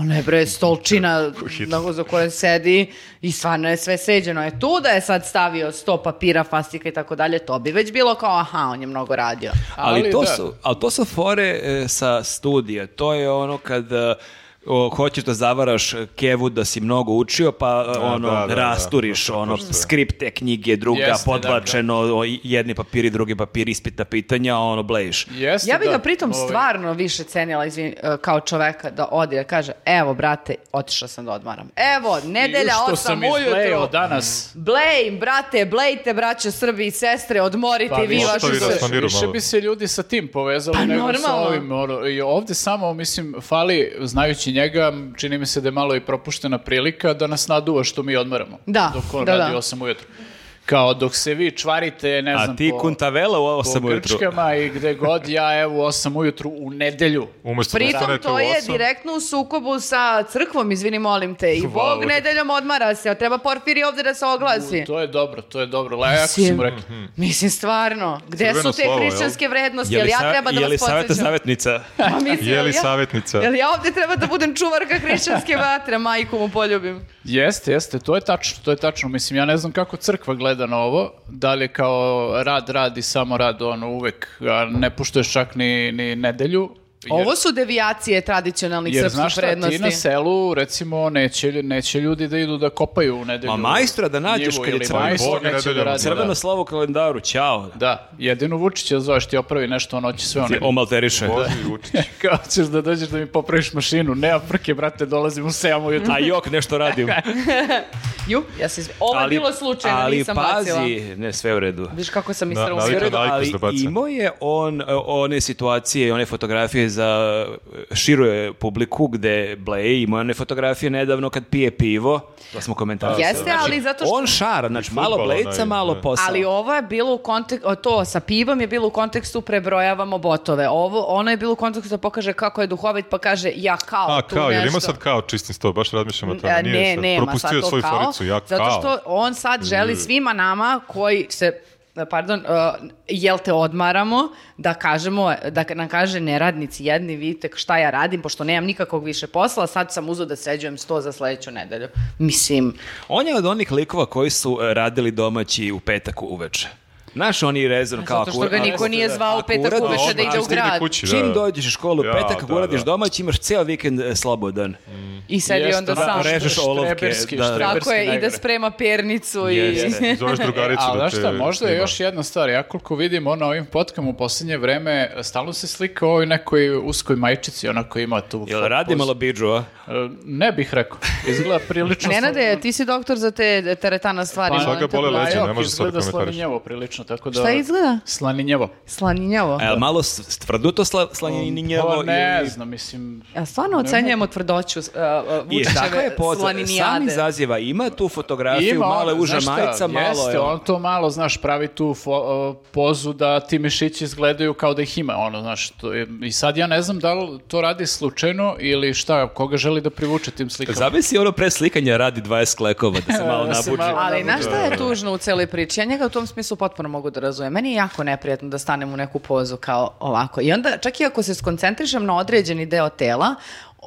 Ona je bre stolčina na, za koje sedi i stvarno je sve sređeno. Je tu da je sad stavio sto papira, fastika i tako dalje, to bi već bilo kao aha, on je mnogo radio. Ali, Ali to da. su, ali to su fore e, sa studija. To je ono kad e, o, hoćeš da zavaraš Kevu da si mnogo učio, pa e, ono, da, da, da. rasturiš ono, skripte, knjige, druga, Jeste, da, podbačeno, o, jedni papiri, drugi papiri, ispita pitanja, ono, blejiš. Jeste, ja bih da, ga pritom ovaj, stvarno više cenila izvin, e, kao čoveka da ode da kaže evo brate, otišao sam da odmaram. Evo, nedelja što osam sam ujutru. izblejao danas. Blejim, brate, blejte, braće Srbi i sestre, Pa odmorite Pa i vi više vaše Ostavi da srce. smanjuje. Planirao više malo. bi se ljudi sa tim povezali Pa, nego sa normalno. ovim. ono, I ovde samo, mislim, fali, znajući njega, čini mi se da je malo i propuštena prilika da nas naduva što mi odmaramo. Da, Dok on da, radi da. 8 ujutru. Kao dok se vi čvarite, ne znam, A ti po, kuntavela u ovo po sam ujutru. Grčkama i gde god, ja evo u 8 ujutru u nedelju. Umesto da Pritom stanete u to je osam, direktno u sukobu sa crkvom, izvini molim te. I Hvala. Bog nedeljom odmara se, a treba porfiri ovde da se oglasi. To je dobro, to je dobro. Lajako Mislim. smo rekli. Mislim, stvarno, gde Crveno su te slovo, jel? hrišćanske vrednosti? Je Jel li ja sa- treba da je li vas saveta podsjećam? savjetnica? Pa mislim, Je li ja- savjetnica? Jel ja ovde treba da budem čuvarka hrišćanske vatre, majku mu poljubim. Jeste, jeste, to je tačno, to je tačno. Mislim, ja ne znam kako crkva gleda na ovo, da li je kao rad, rad i samo rad, ono, uvek, a ne puštuješ čak ni, ni nedelju. jer- Ovo su devijacije tradicionalnih Jer znaš srpskih šta, ti na vrednosti. selu, recimo, neće, neće ljudi da idu da kopaju u nedelju. Ma majstora da nađeš njivu kad je ili crveni majstor Bog neće da nedeljom. radi, Crveno da. slovo u kalendaru, čao. Da, jedino Vučića zoveš ti opravi nešto, on hoće sve ono. Ti omalteriše. Vozi i učić. Kao ćeš da dođeš da mi popraviš mašinu. Ne, a prke, brate, dolazim u sejamu Mm. jutro. A jok, nešto radim. Ju, ja se izvi- Ovo je bilo slučajno, ali nisam pazi, bacila. ne, sve u redu. Viš kako sam Na- istrala. navikao Sve u redu, na ali iPhone da baca. imao je on e, one situacije i one fotografije za e, širu je publiku gde bleje, imao je one fotografije nedavno kad pije pivo, to smo komentarisali. Jeste, ali zato što- On šara, znači malo Fudbal onaj, blejca, malo da. posao. Ali ovo je bilo u kontekstu, to sa pivom je bilo u kontekstu prebrojavamo botove. Ovo, ono je bilo u kontekstu da pokaže kako je duhovit, pa kaže ja kao A, tu kao, nešto. jel ima sad kao čistim sto? Baš razmišljam o A, tome. Nije ne, sad. ne, ma Propustio sad je to svoju kao, foricu, ja kao. Zato što on sad želi svima nama koji se pardon, uh, jel te odmaramo, da kažemo, da nam kaže neradnici jedni, vidite šta ja radim, pošto nemam nikakvog više posla, sad sam uzeo da sređujem sto za sledeću nedelju. Mislim, On je od onih likova koji su e, radili domaći u petak uveče. Znaš, oni rezerv kao... zato što ga ako- niko ako- nije zvao u ako petak uradiš- uveče da odmah ide u stigne grad. kući, Znači, da. Čim dođeš u školu Ja, petak, da, ako uradiš da. domaći, imaš ceo vikend e, slobodan. Mm. I sedi Jeste, onda da, sam. reži- Režeš olovke. štreberski, da. štreberski. Tako je, i da najgore. sprema pernicu i... Jeste. Zoveš E, drugaricu ali da znaš te... šta, možda je snima. još jedna stvar, ja koliko vidim ono ovim potkama u posljednje vreme, e, stalno se slika o ovoj nekoj uskoj majčici, ona koja ima tu... Jel fo- radi poz- malo bidžu, a? E, Ne bih rekao, izgleda prilično... Nenade, ti si doktor za te teretana stvari. Pa, molim Sad ga te, bole blaj. leđa, jok, ne može sad da Izgleda komentariš. slaminjevo prilično odlično, tako da... Šta izgleda? Slaninjavo. Slaninjavo. A jel malo s- tvrduto sla, slaninjavo? Pa ne ili- znam, mislim... Ja stvarno ocenjujemo tvrdoću uh, uh, I tako Vučićeve je poza, sam slaninijade. izaziva, ima tu fotografiju, Ima, male on, uža znaš šta, majica, malo jeste, je... on to malo, znaš, pravi tu fo- uh, pozu da ti mišići izgledaju kao da ih ima, ono, znaš, to je- i sad ja ne znam da li to radi slučajno ili šta, koga želi da privuče tim slikama. Zavisi ono pre slikanja radi 20 klekova da se malo Da se nabuđi. malo- Ali znaš šta je tužno u celoj priči? Ja njega u tom smislu potpuno mogu da razumem. Meni je jako neprijatno da stanem u neku pozu kao ovako. I onda čak i ako se skoncentrišem na određeni deo tela,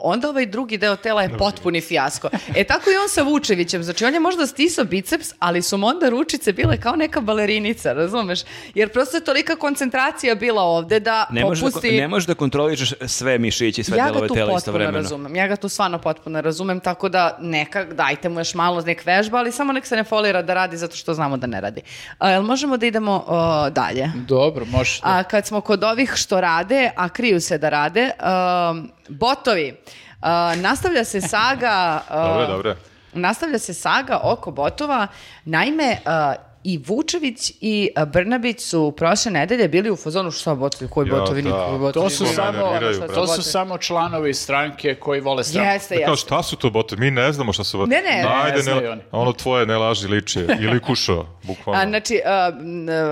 onda ovaj drugi deo tela je potpuni fijasko. E tako i on sa Vučevićem. Znači on je možda stisao biceps, ali su mu onda ručice bile kao neka balerinica, razumeš? Jer prosto je tolika koncentracija bila ovde da Ne možeš, da, popusti... ko- ne možeš da kontrolišeš sve mišiće i sve ja ga delove tu tela potpuno istovremeno. razumem. Ja ga tu stvarno potpuno razumem, tako da neka, dajte mu još malo nek vežba, ali samo nek se ne folira da radi zato što znamo da ne radi. A, jel možemo da idemo o, dalje? Dobro, može. A kad smo kod ovih što rade, a kriju se da rade, um, botovi. Uh, nastavlja se saga... uh, Dobre, dobre. Nastavlja se saga oko botova. Naime, uh, i Vučević i uh, Brnabić su prošle nedelje bili u fazonu što botovi, koji Ja, botovi, da. nikakvi botovi. To su Oni samo- nerviraju, Šta brate. To su botovi? samo članovi stranke koji vole stranku. Jeste, Kao, jeste. šta su to botovi? Mi ne znamo šta su botovi. Ne, ne. Ne, Ajde, ne znaju oni. ono tvoje ne laži liče. Ili kušo, bukvalno. A, znači, a, m, e,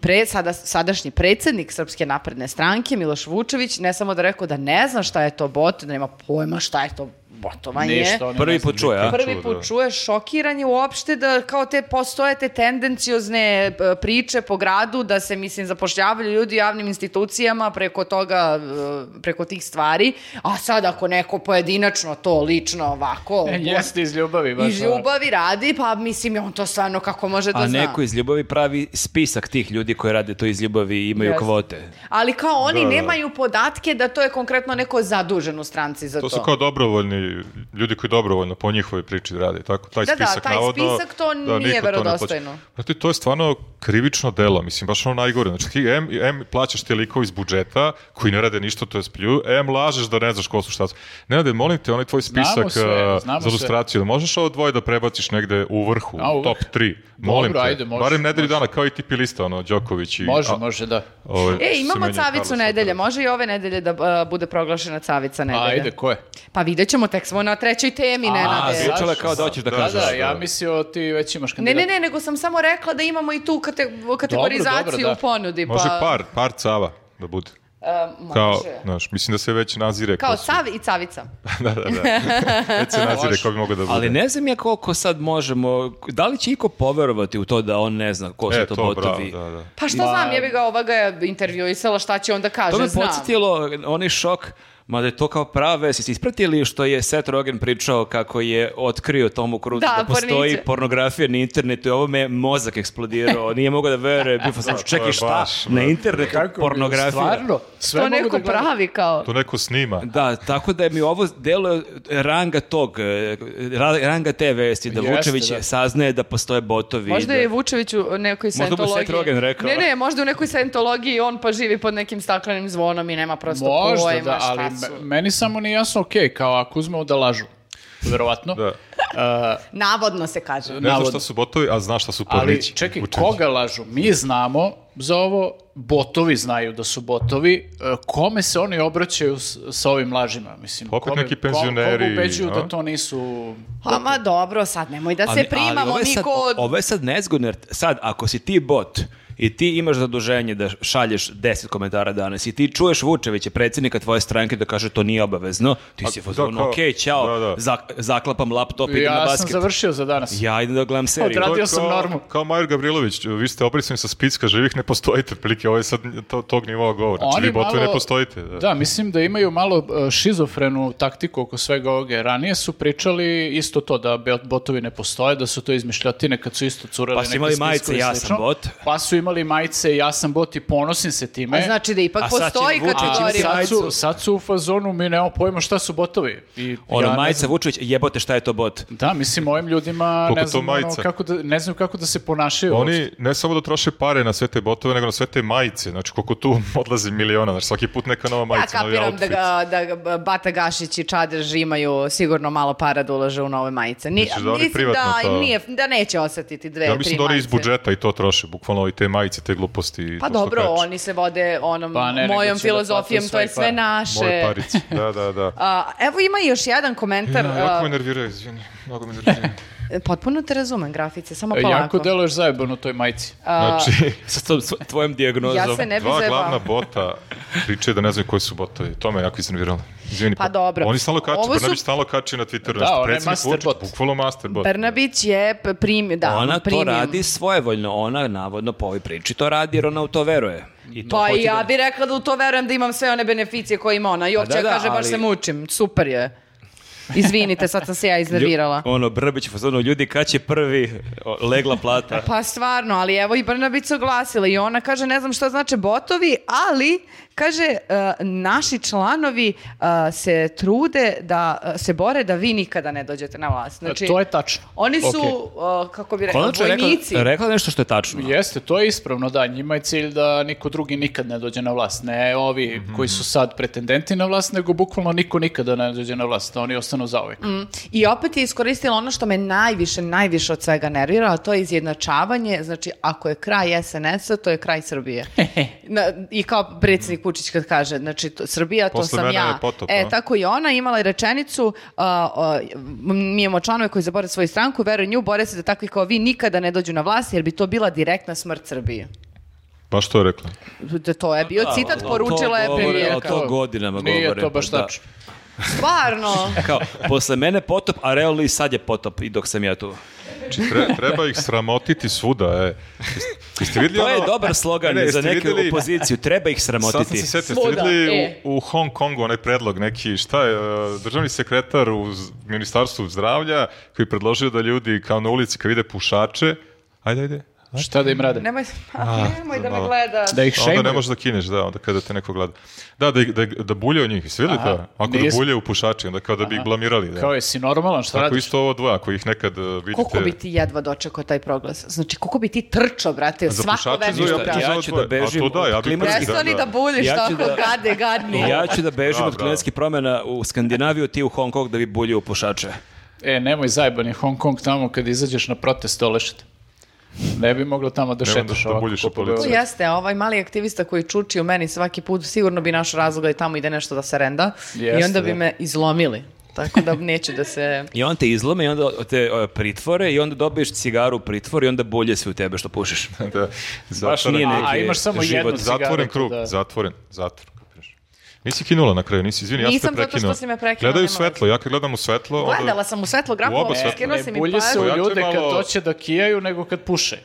pre, sada, sadašnji predsednik Srpske napredne stranke, Miloš Vučević, ne samo da rekao da ne zna šta je to bot, da nema pojma šta je to botovanje. Ništa, oni ne Prvi znaju. put čuje, a? Prvi Čuo, put da. čuje šokiranje uopšte da kao te postoje te tendenciozne e, priče po gradu da se mislim zapošljavaju ljudi u javnim institucijama preko toga e, preko tih stvari, a sad ako neko pojedinačno to lično ovako E, Jeste iz ljubavi. baš iz ono. ljubavi radi, pa mislim on to stvarno kako može da A zna. neko iz ljubavi pravi spisak tih ljudi koji rade to iz ljubavi i imaju Jeste. kvote. Ali kao oni Da, da. nemaju podatke da to je konkretno neko zadužen u stranci za to. To su kao dobrovoljni, ljudi koji dobrovoljno po njihovoj priči rade, tako, taj Da, da, spisak taj navodno, spisak to nije niko ne plaća. verodostojno. Znate, to je stvarno krivično delo, mislim, baš ono najgore. Znači, ti M, M plaćaš te likove iz budžeta, koji ne rade ništa, to je splju, M lažeš da ne znaš ko su šta su. Nenade, molim te, onaj tvoj spisak sve, a, znamo za sve. ilustraciju, možeš ovo dvoje da prebaciš negde u vrhu, A, u top vrh. 3? Molim Dobro, te, ajde, može, barem nedelju može. dana, kao i tipi lista, ono, Đoković i... Može, a, može, da. ovaj, E, imamo Semenja i cavicu Carlos. nedelje, može i ove nedelje da e, bude proglašena cavica nedelje. Ajde, ko je? Pa vidjet ćemo, tek smo na trećoj temi, A, A, Nenade. zašto? zvučalo je kao da hoćeš da Da, Da, kažeš. da, ja mislio ti već imaš Ne, kandidat. ne, ne, nego sam samo rekla da imamo i tu kate- kategorizaciju dobro, da. u ponudi. Pa, Može par, par cava da bude. E, može. Kao, znaš, mislim da se već nazire. Kao ko su- sav i cavica. da, da, da. Već se nazire Može. ko bi mogao da bude. Ali ne znam ja koliko sad možemo, da li će iko poverovati u to da on ne zna ko su e, to to, botovi. bravo, da, da. Pa šta znam, je bi ga ova ga je intervjuisala, šta će onda kaže, To me znam. podsjetilo, onaj šok, mada je to kao prave, jesi ispratili što je Seth Rogen pričao kako je otkrio Tomu Cruise da, Da, postoji porniće. pornografija na internetu i ovo me je mozak eksplodirao, nije mogao da veruje, bio sam to je čekaj šta, baš, na brate. internetu Kako bi- pornografija. Stvarno? Sve To mogu neko da gledam. pravi kao. To neko snima. Da, tako da mi ovo delo ranga tog, e, ra- ranga te vesti, da Jeste, Vučević da. saznaje da postoje botovi. Možda da- je Vučević u nekoj Možda mu sentologiji. Seth Rogen rekao. Ne, ne, možda u nekoj sentologiji on pa živi pod nekim staklenim zvonom i nema prosto Možda pojma da, šta ali su. me- meni samo nije jasno, okej, kao ako uzmemo da lažu, verovatno. Da. Navodno se kaže. Ne znaš Navodno. šta su botovi, a znaš šta su Ali pornići. čekaj, Vučević. koga lažu? Mi znamo za ovo, botovi znaju da su botovi. E, Kome se oni obraćaju s, sa ovim lažima? Mislim, Opet kome- neki ko- koga penzioneri, ubeđuju da a? to nisu... A Pa ma dobro, sad nemoj da se Ali- ali primamo ovo je sad- niko od... Ovo je sad nezgodno, jer sad ako si ti bot i ti imaš zaduženje da šalješ 10 komentara danas i ti čuješ Vučevića, predsjednika tvoje stranke, da kaže to nije obavezno, ti si da, fazon, kao- ok, ćao, da, da. zak- zaklapam laptop, i idem na Ja sam basket. završio za danas. Ja idem da gledam seriju. To je radio sam kao- normu. Kao Majer Gavrilović, vi ste obrisani sa spiska živih, ne postojite, prilike, ovo je sad to, tog nivoa govora. Znači, Oni vi botovi ne malo- postojite. Da. Da, mislim da imaju malo e, šizofrenu taktiku oko svega ovoga. Ranije su pričali isto to da be- botovi ne postoje, da su to izmišljotine kad su isto curali Pa su neke imali spiskove majice i ja sam slično. bot. Pa su imali majice ja sam bot i ponosim se time. A znači da ipak A sad će postoji Vučić A imati kategorija. sad majicu. su, sad su u fazonu, mi nemamo pojma šta su botovi. I Ono, ja ne majica znam- Vučević, jebote šta je to bot. Da, mislim, ovim ljudima Koliko ne to znam, ono, majica? kako da, ne znam kako da se ponašaju. uopšte. Oni ne samo da troše pare na sve te botove, nego na sve te majice. Znači, koliko tu odlazi miliona. Znači, svaki put neka nova Ja majica, novi kapiram da, outfit. ga, da ga Bata Gašić i Čadež imaju sigurno malo para da ulaže u nove majice. Ni, Misliš da oni mislim privatno da, to- nije, da neće osetiti dve, Ja tri mislim da oni iz majice. budžeta i to troše, bukvalno i te majice, te gluposti. Pa to što dobro, peče. oni se vode onom Pa ne, nego mojom će da pa- filozofijom, plate to je svoj sve par. Moje naše. parice, da, da, da. A, evo ima još jedan komentar. Ja, jako a, me nerviraju, izvini. Mnogo me nerviraju. potpuno te razumem, grafice, samo Pa E, polako. Jako deluješ zajebano u toj majici. Znači, Sa tom svo- tvojom dijagnozom. Ja se ne bi dva zajebala. glavna bota pričaju da ne znaju koji su botovi. To me jako iznerviralo. Izvini. Pa dobro. Oni stalno kače, Ovo su- Brnabić stalno kače na Twitteru. Da, nešto. ona je Predsjednik master Vučić, bot. Bukvalno master bot. Brnabić je p- primio, da, ona primio. to radi svojevoljno, ona navodno po ovoj priči to radi jer ona u to veruje. I to Pa hoće i ja da- Pa bih rekla da u to verujem da imam sve one beneficije koje ima ona. Jopća da, da, kaže, baš ali- se mučim, super je. Izvinite, sad sam se ja iznervirala. Lju- Ono, Brbić, u fazonu, ljudi, kad će prvi o, legla plata? Pa stvarno, ali evo i Brnabić se oglasila i ona kaže ne znam šta znače botovi, ali kaže e, naši članovi e, se trude da e, se bore da vi nikada ne dođete na vlast. Znači, to je tačno. Oni su, Okej. e, kako bi rekla, Konačno je rekla, vojnici. rekla nešto što je tačno. Jeste, to je ispravno, da. Njima je cilj da niko drugi nikad ne dođe na vlast. Ne ovi Mhm. koji su sad pretendenti na vlast, nego bukvalno niko nikada ne dođe na vlast. Da oni ostanu zauvek. Mhm. Mm. I opet je iskoristila ono što me najviše, najviše od svega nervira, a to je izjednačavanje. Znači, ako je kraj SNS-a, to je kraj Srbije. Na- I kao predsjednik Vučić kad kaže, znači, to- Srbija, to Posle sam mene ja. je potop, e, a? tako i ona imala je rečenicu, a, a, mi imamo članove koji zabore svoju stranku, veruju nju, bore se da takvi kao vi nikada ne dođu na vlast, jer bi to bila direktna smrt Srbije. Baš to je rekla. Da, To je bio citat, To poručila je govore- premijerka. o to godinama govore. Nije to baš pa da. tačno. Stvarno! Kao, posle mene potop, a realno i sad je potop i dok sam ja tu. Znači, tre- treba ih sramotiti svuda, e. Jeste- Jeste vidjeli To je ono- dobar slogan Ne, ne, za jeste neku vidjeli- opoziciju, treba ih Sad sam sramotiti. se setio, ste Svuda, vidjeli e. u, u Hong Kongu onaj predlog neki, šta je, e, državni sekretar u z- ministarstvu zdravlja koji je predložio da ljudi kao na ulici kad vide pušače, ajde, ajde, Šta da im rade? Nemoj, nemoj da me malo. gledaš. Da ih onda ne šejmuju? možeš da kineš, da, onda kada te neko gleda. Da, da, ih- da, ih- da bulje u njih, jesi vidjeli Aha, to? Ako da nisam. bulje u pušači, onda kao da bi ih blamirali. Da. Kao jesi normalan, šta Tako radiš? isto ovo dvoje, ako ih nekad e, vidite... Koliko bi ti jedva dočekao taj proglas? Znači, koliko bi ti trčao, brate, Za svako pušače veče zove, ja da ću zove da dvoje. A bežim to da, ja od bi klimatskih- prvi, da, Prestani da da. buljiš Ja ću tako, da- gade, gadni. Ja ću da bežim Bravo, od bravo. klimatskih promjena u Skandinaviju, ti u Hong Kong da bi bulje u pušače. E, nemoj zajeban je Hong Kong tamo kad izađeš na protest olešite. Ne bi moglo tamo da Nemoj da- šetaš da ovako. buljiš u po To Beogradu. policiju. jeste, a ovaj mali aktivista koji čuči u meni svaki put, sigurno bi našao razloga i tamo ide nešto da se renda. I Jeste, onda bi da. me izlomili. Tako da neću da se... I on te izlome i onda te e, pritvore i onda dobiješ cigaru u pritvor i onda bulje se u tebe što pušiš. da, zatvoren- nije neki A, a imaš samo život. jednu cigaru. Zatvoren krug, da. zatvoren, zatvor. kapiraš. Nisi kinula na kraju, nisi, izvini, ja sam te Nisam, zato prekinuo. što si me prekinuo, Gledaju nema svetlo, ja kad gledam u svetlo... onda- Gledala sam u svetlo U grafu, oba svetla. skinuo si Ne mi bulje se pažnju. u Ja to ljude kad malo- hoće da kijaju nego kad puše.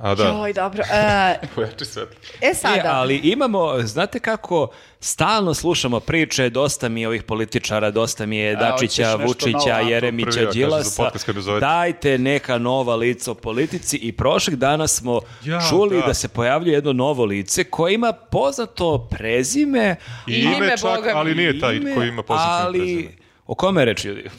A da, Joj, dobro. E, pojači svetlo. E E, sada, ali imamo, znate kako, stalno slušamo priče, dosta mi je ovih političara, dosta mi E, je Dačića, hoćeš nešto novo, Vučića, a to prvi, ja Jeremića, kažem, za Đilasa. podcast kad me zovete. Dajte neka nova lica u politici i prošlih dana smo Ja, čuli da. da. se pojavljuje jedno novo lice koje ima poznato prezime, I Ime ime, čak, Boga mi, ali nije taj ime, koji ima pozitivno ali... prezime. O kome je reč, ljudi?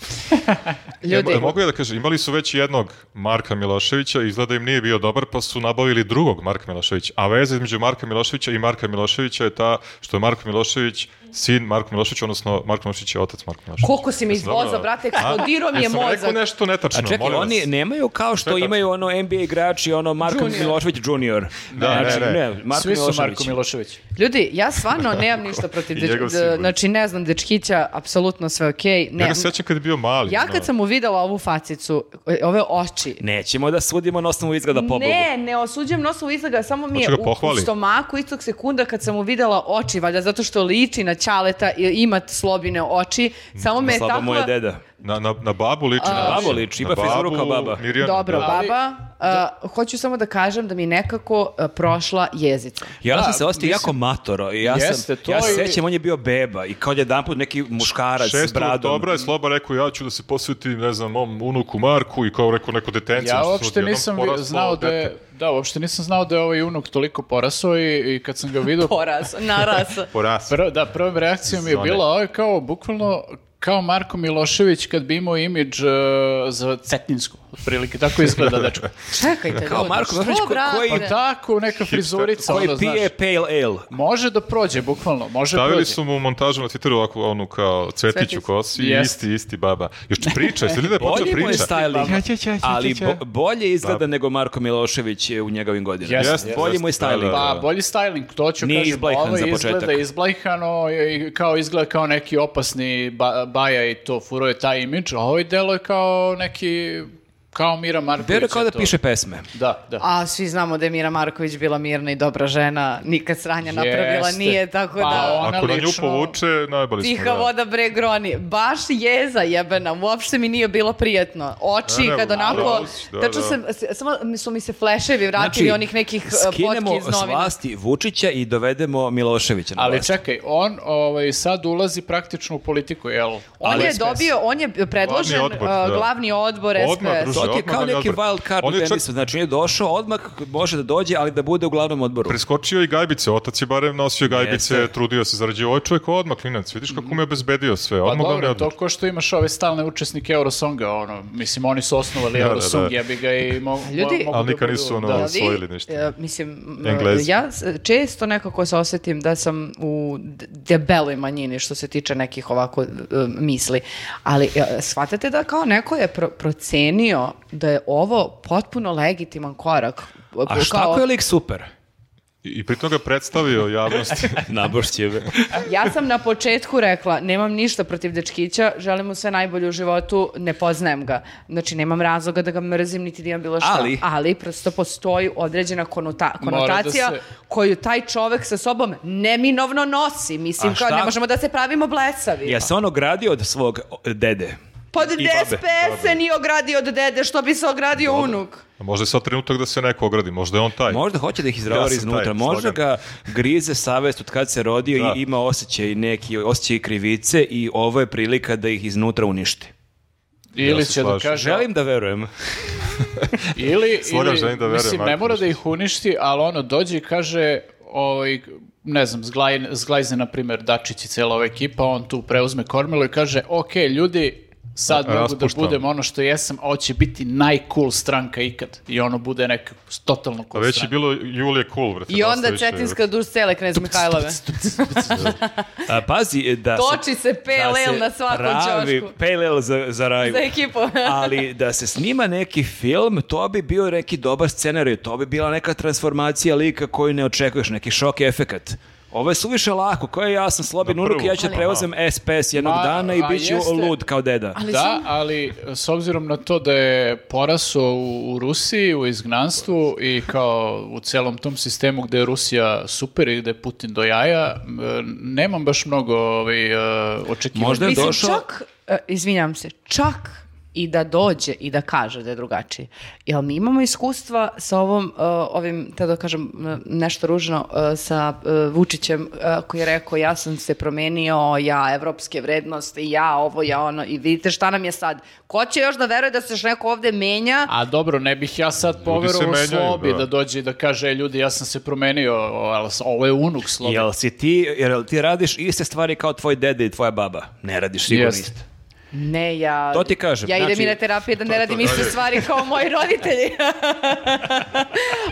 ljudi, Ja, mogu ja da kažem, imali su već jednog Marka Miloševića, izgleda im nije bio dobar, pa su nabavili drugog Marka Miloševića. A veza između Marka Miloševića i Marka Miloševića je ta što je Marko Milošević sin Marko Miloševića, odnosno Marko Milošević je otac Marko Miloševića. koliko si mi Jesam dobro? izvozao, brate, A? eksplodirao mi je Jesam mozak. rekao nešto netačno, A čekaj, molim vas. oni nemaju kao što je tačno. imaju ono NBA igrači, ono Marko Junior. Milošević junior. Znači, Da, ne, ne. Marko Svi su Milošević. Marko Milošević. Ljudi, ja stvarno nemam ništa protiv I dečki- njegov d- simbol. znači ne znam dečkića, apsolutno sve okej. Ja Ne. ga sećam kad je bio mali. Ja znaš. kad sam mu videla ovu facicu, e, ove oči, Nećemo da sudimo na osnovu izgleda pobogu. Ne, ne osuđujem nosom izlaga, samo mi je Hoće ga u, u pohvali. stomaku istog sekunda kad sam mu videla oči, valjda zato što liči na ćaleta i ima slobine oči, samo me je Slabo mu je takva... deda. Na, na, na babu liči. na babu oči. liči, Na ima frizuru babu kao baba. Mirjana, Dobro, da. baba, a, hoću samo da kažem da mi je nekako a, prošla jezica. Ja Da, sam se ostio mislim- jako matoro. i Ja, Jeste, sam, to ja je- sećam, on je bio beba i kao jedan put neki muškarac s 6. bradom. oktobra je Sloba rekao ja ću da se posvetim, ne znam, mom unuku Marku i kao rekao neko detence. Ja što su uopšte odjednom nisam vi- poraslo znao da je, dete. da, uopšte nisam znao da je ovaj unuk toliko porasao i, i kad sam ga vidio, Poraz, naraz. Poraslo. prv, da, prvom reakcijom je Zone. bila, ovo je kao, bukvalno, kao Marko Milošević kad bi imao imidž e, za Cetinjsku. otprilike. Tako izgleda, dečko. Čekajte, Kao ljudi, Marko što, Mihajlović, ko- brate? koji- Pa tako, neka frizurica, Koji ono, znaš. pije pale ale. Može da prođe, bukvalno, može da Stavili prođe. su mu u montažu na Twitteru ovako onu kao Cvetić u Cvetić. kosi, Jest. isti, isti baba. Još priča, jeste li da je počeo Bolji mu je priča? styling, Ja, ja, ja, ja, ali ja. bo- bolje izgleda nego Marko Milošević je u njegovim godinama. Jeste, Jeste, Bolji jeste, mu je da, da, da. styling. Pa, bolji styling, to ću Nije kažem. izblejhan ovo za izgleda početak. izblejhano, i kao izgleda kao neki opasni ba- baja i to, furo je taj imidž, a ovo delo je kao neki, kao Mira Marković. Vero kao je da to. piše pesme. Da, da. A svi znamo da je Mira Marković bila mirna i dobra žena, nikad sranja napravila Jeste. nije, tako Pa, da... ona Ako na nju lično- povuče, najbolji smo. Tiha ono da. voda bre groni. Baš jeza jebena, uopšte mi nije bilo prijatno. Oči Ne, ne, kad u onako, pravu si, da, tačno da. sam, s- samo mi su mi se fleševi vratili onih nekih eh, fotki Znači, skinemo iz s novina. vlasti Vučića i dovedemo Miloševića na Ali vlast. čekaj, on ovaj, sad ulazi praktično u politiku, jel? On Ali je SPS. dobio, on je predložen eh, Glavni glavni odbor, odbor, da. SPS. Odmah, druže. To ti je Odmah kao na neki odbor. wild card On u je čak- tenisu. Znači, on je došao odmah, može da dođe, ali da bude u glavnom odboru. Preskočio i gajbice, otac je barem nosio gajbice, Jeste. trudio se, zarađio. Ovo je čovjek odmah, klinac, vidiš kako mu je obezbedio sve. Pa Odmah glavni dobro, to odbor. ko što imaš ove stalne učesnike Eurosonga, ono, mislim, oni su osnovali Da, da, Eurosong, da. jebi ga i mo, mo- Ljudi- mogu Ali da nikad budu- nisu, ono, da. Jel vi, osvojili nešto. eh, mislim, m, Englezi. ja s- često nekako se osjetim da sam u d- debeloj manjini što se tiče nekih ovako eh, misli. Ali eh, shvatate da kao neko je pro- procenio da je ovo potpuno legitiman korak. A šta Kao- ako je lik super? I, I pritom ga predstavio javnosti. Nabošće. Ja sam na početku rekla, nemam ništa protiv dečkića, želim mu sve najbolje u životu, ne poznajem ga. Znači, nemam razloga da ga mrzim, niti da imam bilo šta. Ali- prosto postoji određena konota- Mora da konotacija se- koju taj čovek sa sobom neminovno nosi. Mislim, A kao, šta- ne možemo da se pravimo blesavi. Ja se on ogradio od svog o, dede. Pod I babe. DSP se nije ogradio od dede, što bi se ogradio unuk. A Možda je sad trenutak da se neko ogradi, možda je on taj. Možda hoće da ih izravari Ja sam iznutra, taj možda slogan. ga grize savest od kad se rodio Da. i ima osjećaj neki, osjećaj krivice i ovo je prilika da ih iznutra uništi. Ili Ja se će da slažem. kaže, Želim da verujem. Ili, Slogan ili želim da verujem, mislim, ne Marko, mora nešto da ih uništi, ali ono, dođe i kaže, ovaj, ne znam, zglaj, zglajze, na primjer, Dačić i cijela ova ekipa, on tu preuzme kormilo i kaže, ok, ljudi, sad A, mogu da raspuštam. budem ono što jesam, a ovo će biti najcool stranka ikad. I ono bude neka totalno A cool Pa već je stranka. bilo Julije Cool, vrati. I onda Cetinska duš cele knez Mihajlove. A, pazi, da se- Toči se PLL na svakom pravi ćošku. PLL za, za raju. Za ekipu. Ali da se snima neki film, to bi bio neki dobar scenarij, to bi bila neka transformacija lika koju ne očekuješ, neki šok efekat. Ovo je suviše lako, kao ja sam sloben Na unuk, prvu. ja ću da Ali- preuzem SPS jednog Ma, dana i a bit ću jeste. lud kao deda. Ali Da, samo- ali s obzirom na to da je porasao u, u Rusiji, u izgnanstvu i kao u celom tom sistemu gde je Rusija super i gde je Putin do jaja, m, nemam baš mnogo ovaj, e, očekivanja. Možda je Mislim, došao- čak, e, izvinjam se, čak i da dođe i da kaže da je drugačiji. Jel mi imamo iskustva sa ovom, e, ovim, te da kažem e, nešto ružno, e, sa e, Vučićem e, koji je rekao ja sam se promenio, ja evropske vrednosti, ja ovo, ja ono i vidite šta nam je sad. Ko će još da veruje da se još neko ovde menja? A dobro, ne bih ja sad se poverovao menjaju, Slobi da. da. dođe i da kaže, "E, ljudi, ja sam se promenio, o, ali s- ovo je unuk Slobi. Jel si ti, jel ti radiš iste stvari kao tvoj dede i tvoja baba? Ne radiš sigurno Jeste. isto. Ne, ja... To ti kažem, Ja idem znači- i na terapije da ne to, radim da, iste da. stvari kao moji roditelji.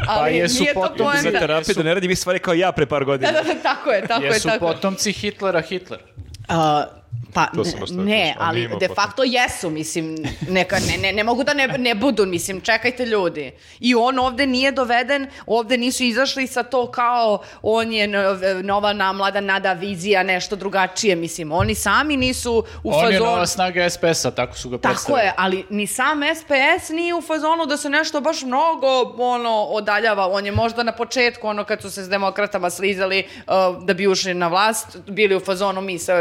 Ali Pa jesu nije to potpuno- Za poenta. terapiju da ne radim iste stvari kao ja pre par godina. tako je, tako Jesu je, tako je. potomci Hitlera Hitler. A, Uh, pa To sam baš ne, tako ne, mislio, ali ali ima de potrebe. facto jesu, mislim, neka, ne, ne, ne mogu da ne, ne budu, mislim, čekajte ljudi. I on ovde nije doveden, ovde nisu izašli sa to kao on je no- nova namlada nada vizija, nešto drugačije, mislim, oni sami nisu u On je fazonu- nova snaga SPS-a, tako su ga Tako predstavili. je, ali ni sam SPS nije u fazonu da se nešto baš mnogo ono odaljava. On je možda na početku, ono kad su se s demokratama slizali uh, da bi ušli na vlast, bili u fazonu mi se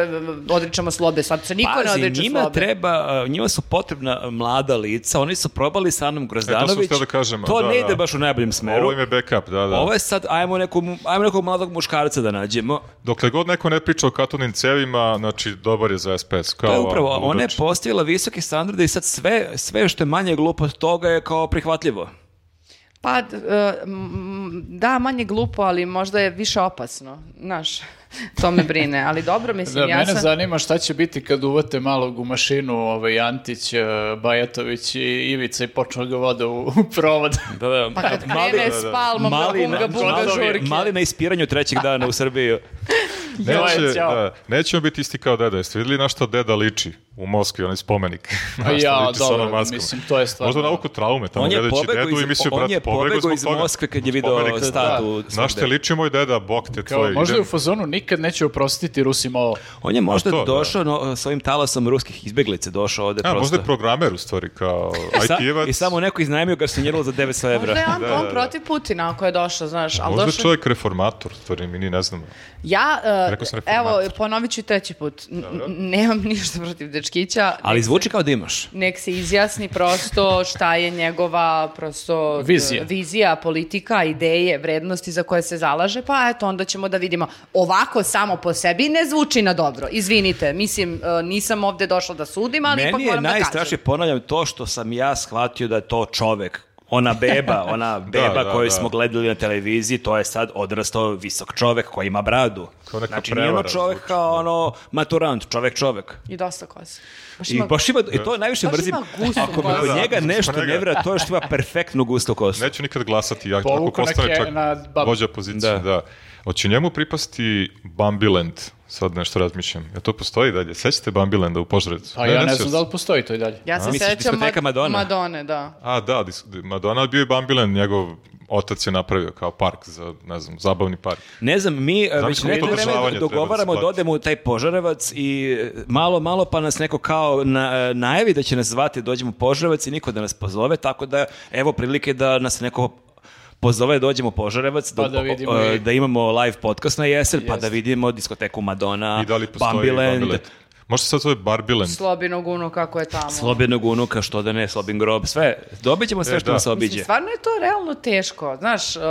uh, odričamo slobe, sad se niko ne Pazi, odriče njima slobe. treba, uh, njima su potrebna uh, mlada lica, oni su probali sa E, Anom Grozdanović. htio da kažem, To da, ne da. ide baš u najboljem smeru. Ovo im je backup, da, da. Ovo je sad, ajmo, neku, ajmo nekog mladog muškarca da nađemo. Dokle god neko ne priča o katodnim cevima, znači dobar je za SPS. Kao To je ova upravo, ona je ludača. postavila visoke standarde i sad sve, sve što je manje glupo od toga je kao prihvatljivo. Pa, d- e, m, da, manje glupo, ali možda je više opasno. Znaš, to me brine. Ali dobro, Da, mislim, ja mene sam... zanima šta će biti kad uvate malog u mašinu ovaj Antić, eh, Bajatović i Ivica i počnu ga voda u, u provod. Da, da. Pa kad Mali- krene s palmom, mali na na- bunga, bunga, mali- žurke. Mali na ispiranju trećeg dana u Srbiji. Joj, Neće, ćao. da, nećemo biti isti kao deda. Jeste vidjeli na što deda liči u Moskvi, onaj spomenik? Na A šta ja, liči sa onom dobro, maskom. mislim, to je stvarno. Možda nauku traume tamo On je gledajući pobegao dedu iz- i mislio, on brate, je pobegao pobegao zbog iz toga. Moskve kad je video Spomenik, da. statu Znaš te svog liči moj deda, bog te Kao, tvoj. možda je idem- u fazonu nikad neće oprostiti Rusima ovo. On je možda to, da. došao no, s ovim talasom ruskih izbeglice, došao ovde A, prosto. E možda je programer u stvari, kao Sa- IT-evac. I samo neko iznajmio ga saniralo za 900 evra. Možda je on, Da, da, on da. protiv Putina ako je došao, znaš. Ali Možda je došao... čovjek reformator, u stvari, mi ni ne znamo. Ja, e, Rekao sam evo, reformator. ponovit ću i treći put. N- n- nemam ništa protiv dečkića. Ali zvuči kao da imaš. nek se izjasni prosto šta je njegova prosto Vizija. d- vizija, politika, ideje, vrednosti za koje se zalaže, pa eto onda ćemo da vidimo. Ovako samo po sebi ne zvuči na dobro. Izvinite, mislim e, nisam ovde došla da sudim, ali ipak Meni je moram da najstrašnije, kažem. ponavljam, to što sam ja shvatio da je to čovek. Ona beba, ona beba da, koju da. smo gledali na televiziji, to je sad odrastao visok čovek koji ima bradu. Kao neka znači, nije ono prevara čovek zvuči, kao ono maturant, čovek čovek. I dosta kose. Baš I ima- baš ima, i to najviše Baš mrzim. ima gustu Ako me kosu. kod Da, da, njega gustu nešto njega. ne vra, to je što ima perfektnu gustu kosu. Neću nikad glasati, ja ako Povuko na postane ke- čak na babu. vođa pozicije. Da. Da. Hoće njemu pripasti Bambiland? Sad nešto razmišljam. Ja to postoji dalje. Sećate Bambilanda u Požarevcu? Pa ja ne sjećam znam se. da li postoji to i dalje. Ja se Misliš sećam diskoteka Mad- Madonna? Madone, da. A, da, dis- Madonna je bio i Bambiland, njegov otac je napravio kao park za, ne znam, zabavni park. Ne znam, mi e, već koliko neko vreme održavanja treba dogovaramo da se da odemo u taj Požarevac i e, malo, malo pa nas neko kao na, e, najavi da će nas zvati, dođemo u Požarevac i niko da nas pozove, tako da evo prilike da nas neko pozove, dođemo u Požarevac, Pa da vidimo e, i- da imamo live podcast na jesen, pa Jest. da vidimo diskoteku Madonna, I da li postoji Bambiland, Bambiland? Možda se sad zove Barbiland. Slobino guno kako je tamo. Slobinog unuka, što da ne, Slobin grob, sve. Dobit ćemo sve E, što da. nas Mislim, obiđe. stvarno je to realno teško, znaš, uh, uh,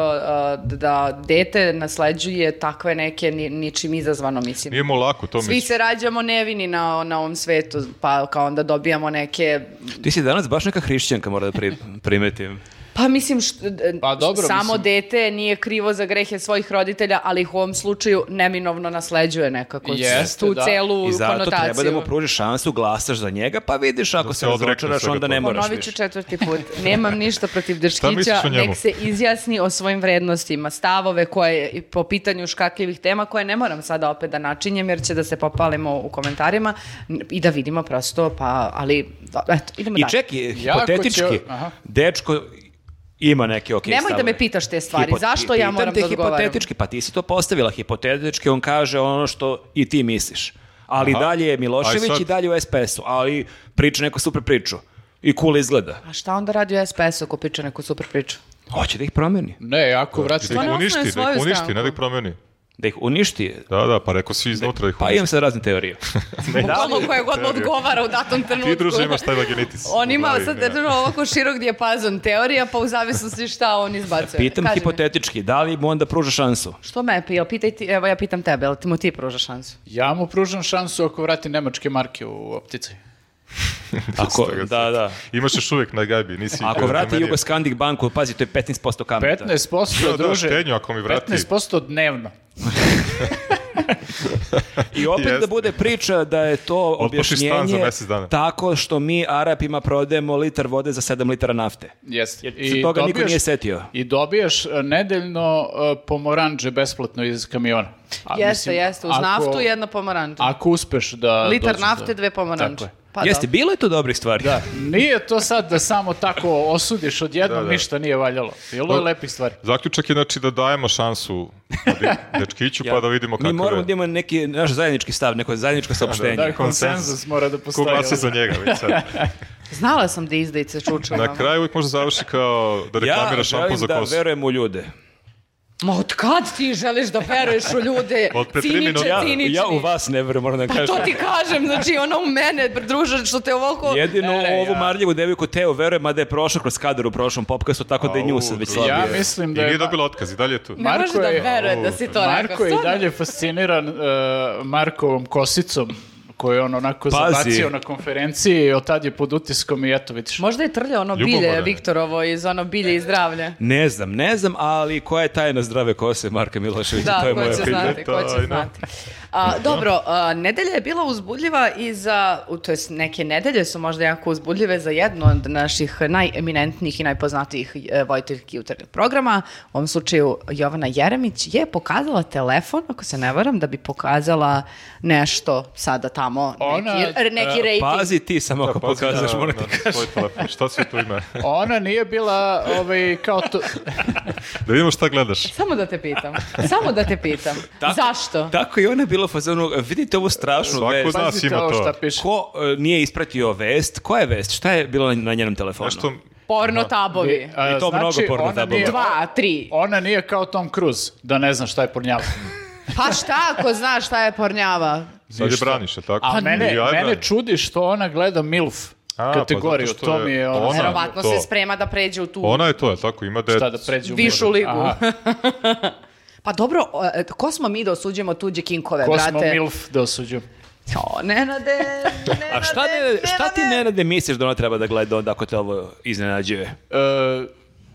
da dete nasleđuje takve neke ni- ničim izazvano, mislim. Nije mu lako, to Svi mi se rađamo nevini na, na ovom svetu, pa kao onda dobijamo neke... Ti si danas baš neka hrišćanka, mora da pri, primetim. Pa mislim, št- d- Pa dobro, samo mislim. dete nije krivo za grehe svojih roditelja, ali ih u ovom slučaju neminovno nasleđuje nekako Jeste, tu da. celu I zato konotaciju. treba da mu pružiš šansu, glasaš za njega, pa vidiš ako se se odrekne razočaraš, svega onda ne toga. moraš Ponovit ću više. četvrti put. Nemam ništa protiv misliš Drškića, o njemu? nek se izjasni o svojim vrednostima, stavove koje i po pitanju škakljivih tema koje ne moram sada opet da načinjem jer će da se popalimo u komentarima n- i da vidimo prosto, pa ali do- eto, idemo I dalje. čeki, Jako hipotetički, će- aha. dečko ima neke ok Nemoj da stavove. me pitaš te stvari, Hipo- zašto ja pitam moram te da odgovaram? hipotetički, pa ti si to postavila hipotetički, on kaže ono što i ti misliš. Ali Aha. dalje je Aj Milošević sad. i dalje u SPS-u, ali priča neku super priču. I cool izgleda. A šta onda radi u SPS-u ako piče neku super priču? Hoće da ih promeni, Pa Ne, jako vrati. Da Ona ih osnuje uništi, da svoju ih uništi, stranku. ne da ih promeni. da ih uništi. Da, da, pa rekao si iznutra da ih Pa uništi. imam sad razne teorije. Bukvalno koja god mu odgovara u datom trenutku. Ti, druže, imaš taj vaginitis. On u ima glavi, sad ne. jedno ovako širok dijapazon teorija, pa u zavisnosti šta on izbacuje. Pitam Kaži mi. hipotetički, da li mu onda pruža šansu? Što me, jel pitaj ti, evo ja pitam tebe, jel ti mu ti pruža šansu? Ja mu pružam šansu ako vrati nemačke marke u optici. Ako, Stoga da, da. Imaš još uvijek na gajbi, nisi... Ako vrati promenio. Jugoskandik banku, pazi, to je 15% kamata. 15% Da, da, druže. štednju ako mi vrati. 15% dnevno. I opet da Jeste. bude priča da je to Otplatiš stan za objašnjenje mesec dana. tako što mi Arapima prodajemo litar vode za 7 litara nafte. Jeste. Jer se toga niko nije setio. I dobijaš e, nedeljno e, pomoranđe besplatno iz kamiona. A, jeste, Pa, mislim, jeste, uz ako- naftu jedna pomoranđa. Ako uspeš da... Litar dođeš do- nafte, dve Tako pomoranđe. je. Pa Jeste, da. bilo je tu dobrih stvari. Da, nije to sad da samo tako osudiš odjednom, Da, da. ništa nije valjalo. Bilo je No. lepih stvari. Zaključak je znači da dajemo šansu de- dečkiću Ja. pa da vidimo Mi kakav moramo je. da imamo neki naš zajednički stav, neko zajedničko saopštenje. Da, konsenzus konsenzus. mora da Ko postoji. glasa za njega već sad. Znala sam da ono. izdajice čuču. Na kraju uvijek može završi kao da reklamira Ja šampon želim za da kosu. verujem u ljude. Ma od kad ti želiš da veruješ u ljude? Od pre tri Ciničan, minuta. Ja, cinični. ja u vas ne verujem, moram da Pa kažem. to ti kažem, znači ona u mene, druže, što te ovako... Jedino E, ovu ja. marljivu devojku Teo verujem, mada je prošla kroz kadar u prošlom popkastu, tako da je nju Au, sad već druže. slabije. Ja mislim da I je... nije dobila otkaz i dalje je tu. Ne može Marko da je- veruje da si to rekao. Marko je i Stvarno. dalje fasciniran e, Markovom kosicom koju je on onako Pazi. zabacio na konferenciji i od tad je pod utiskom i eto vidiš. Možda je trlja ono Ljubomora bilje, je. Viktorovo, iz ono bilje i zdravlje. Ne znam, ne znam, ali koja je tajna zdrave kose Marka Miloševića, Da, to je ko moja će pitanje. znati, ko će Ajde. znati. A, dobro, a, nedelja je bila uzbudljiva i za, u, to jest neke nedelje su možda jako uzbudljive za jednu od naših najeminentnijih i najpoznatijih e, vojiteljki jutarnjeg programa. U ovom slučaju Jovana Jeremić je pokazala telefon, ako se ne varam, da bi pokazala nešto sada tamo, Ona, neki, r- neki rejting. E, Pazi ti samo ako Pazi pokazaš, na- moram na ti svoj telefon. Šta sve to ime? Ona nije bila ovaj, kao to... Da vidimo šta Ono. gledaš. Samo da te pitam. Samo da te pitam. Zašto? Tako i ona je bila u fazonu, vidite ovu strašnu Svako vest. zna. nas Pazite ima ovo to. šta piše. Ko e, nije ispratio vest? Koja je vest? Šta je bilo na- na njenom telefonu? Nešto, Porno tabovi. A, I to mnogo porno E, znači, ona tabela. nije- Dva, tri. Ona nije kao Tom Cruise, da ne zna šta je pornjava. Pa šta ako znaš šta je pornjava? sad je Ništa. braniš, je tako? Pa A I mene, ja je Pa mene branim. čudi što ona gleda MILF A, pa kategoriju, zato što to je Pa mi je ono... ona- Verovatno to. se sprema da pređe u tu... Ona je to, je tako? Ima dete. Šta da pređe u Višu MILF? ligu. Aha, Pa dobro, e, ko smo mi da osuđujemo tuđe kinkove, ko brate? smo MILF da osuđujem? O, Nenade, Nenade, A šta, ne, šta ti Nenade misliš da ona treba da gleda onda ako te ovo iznenađuje? E,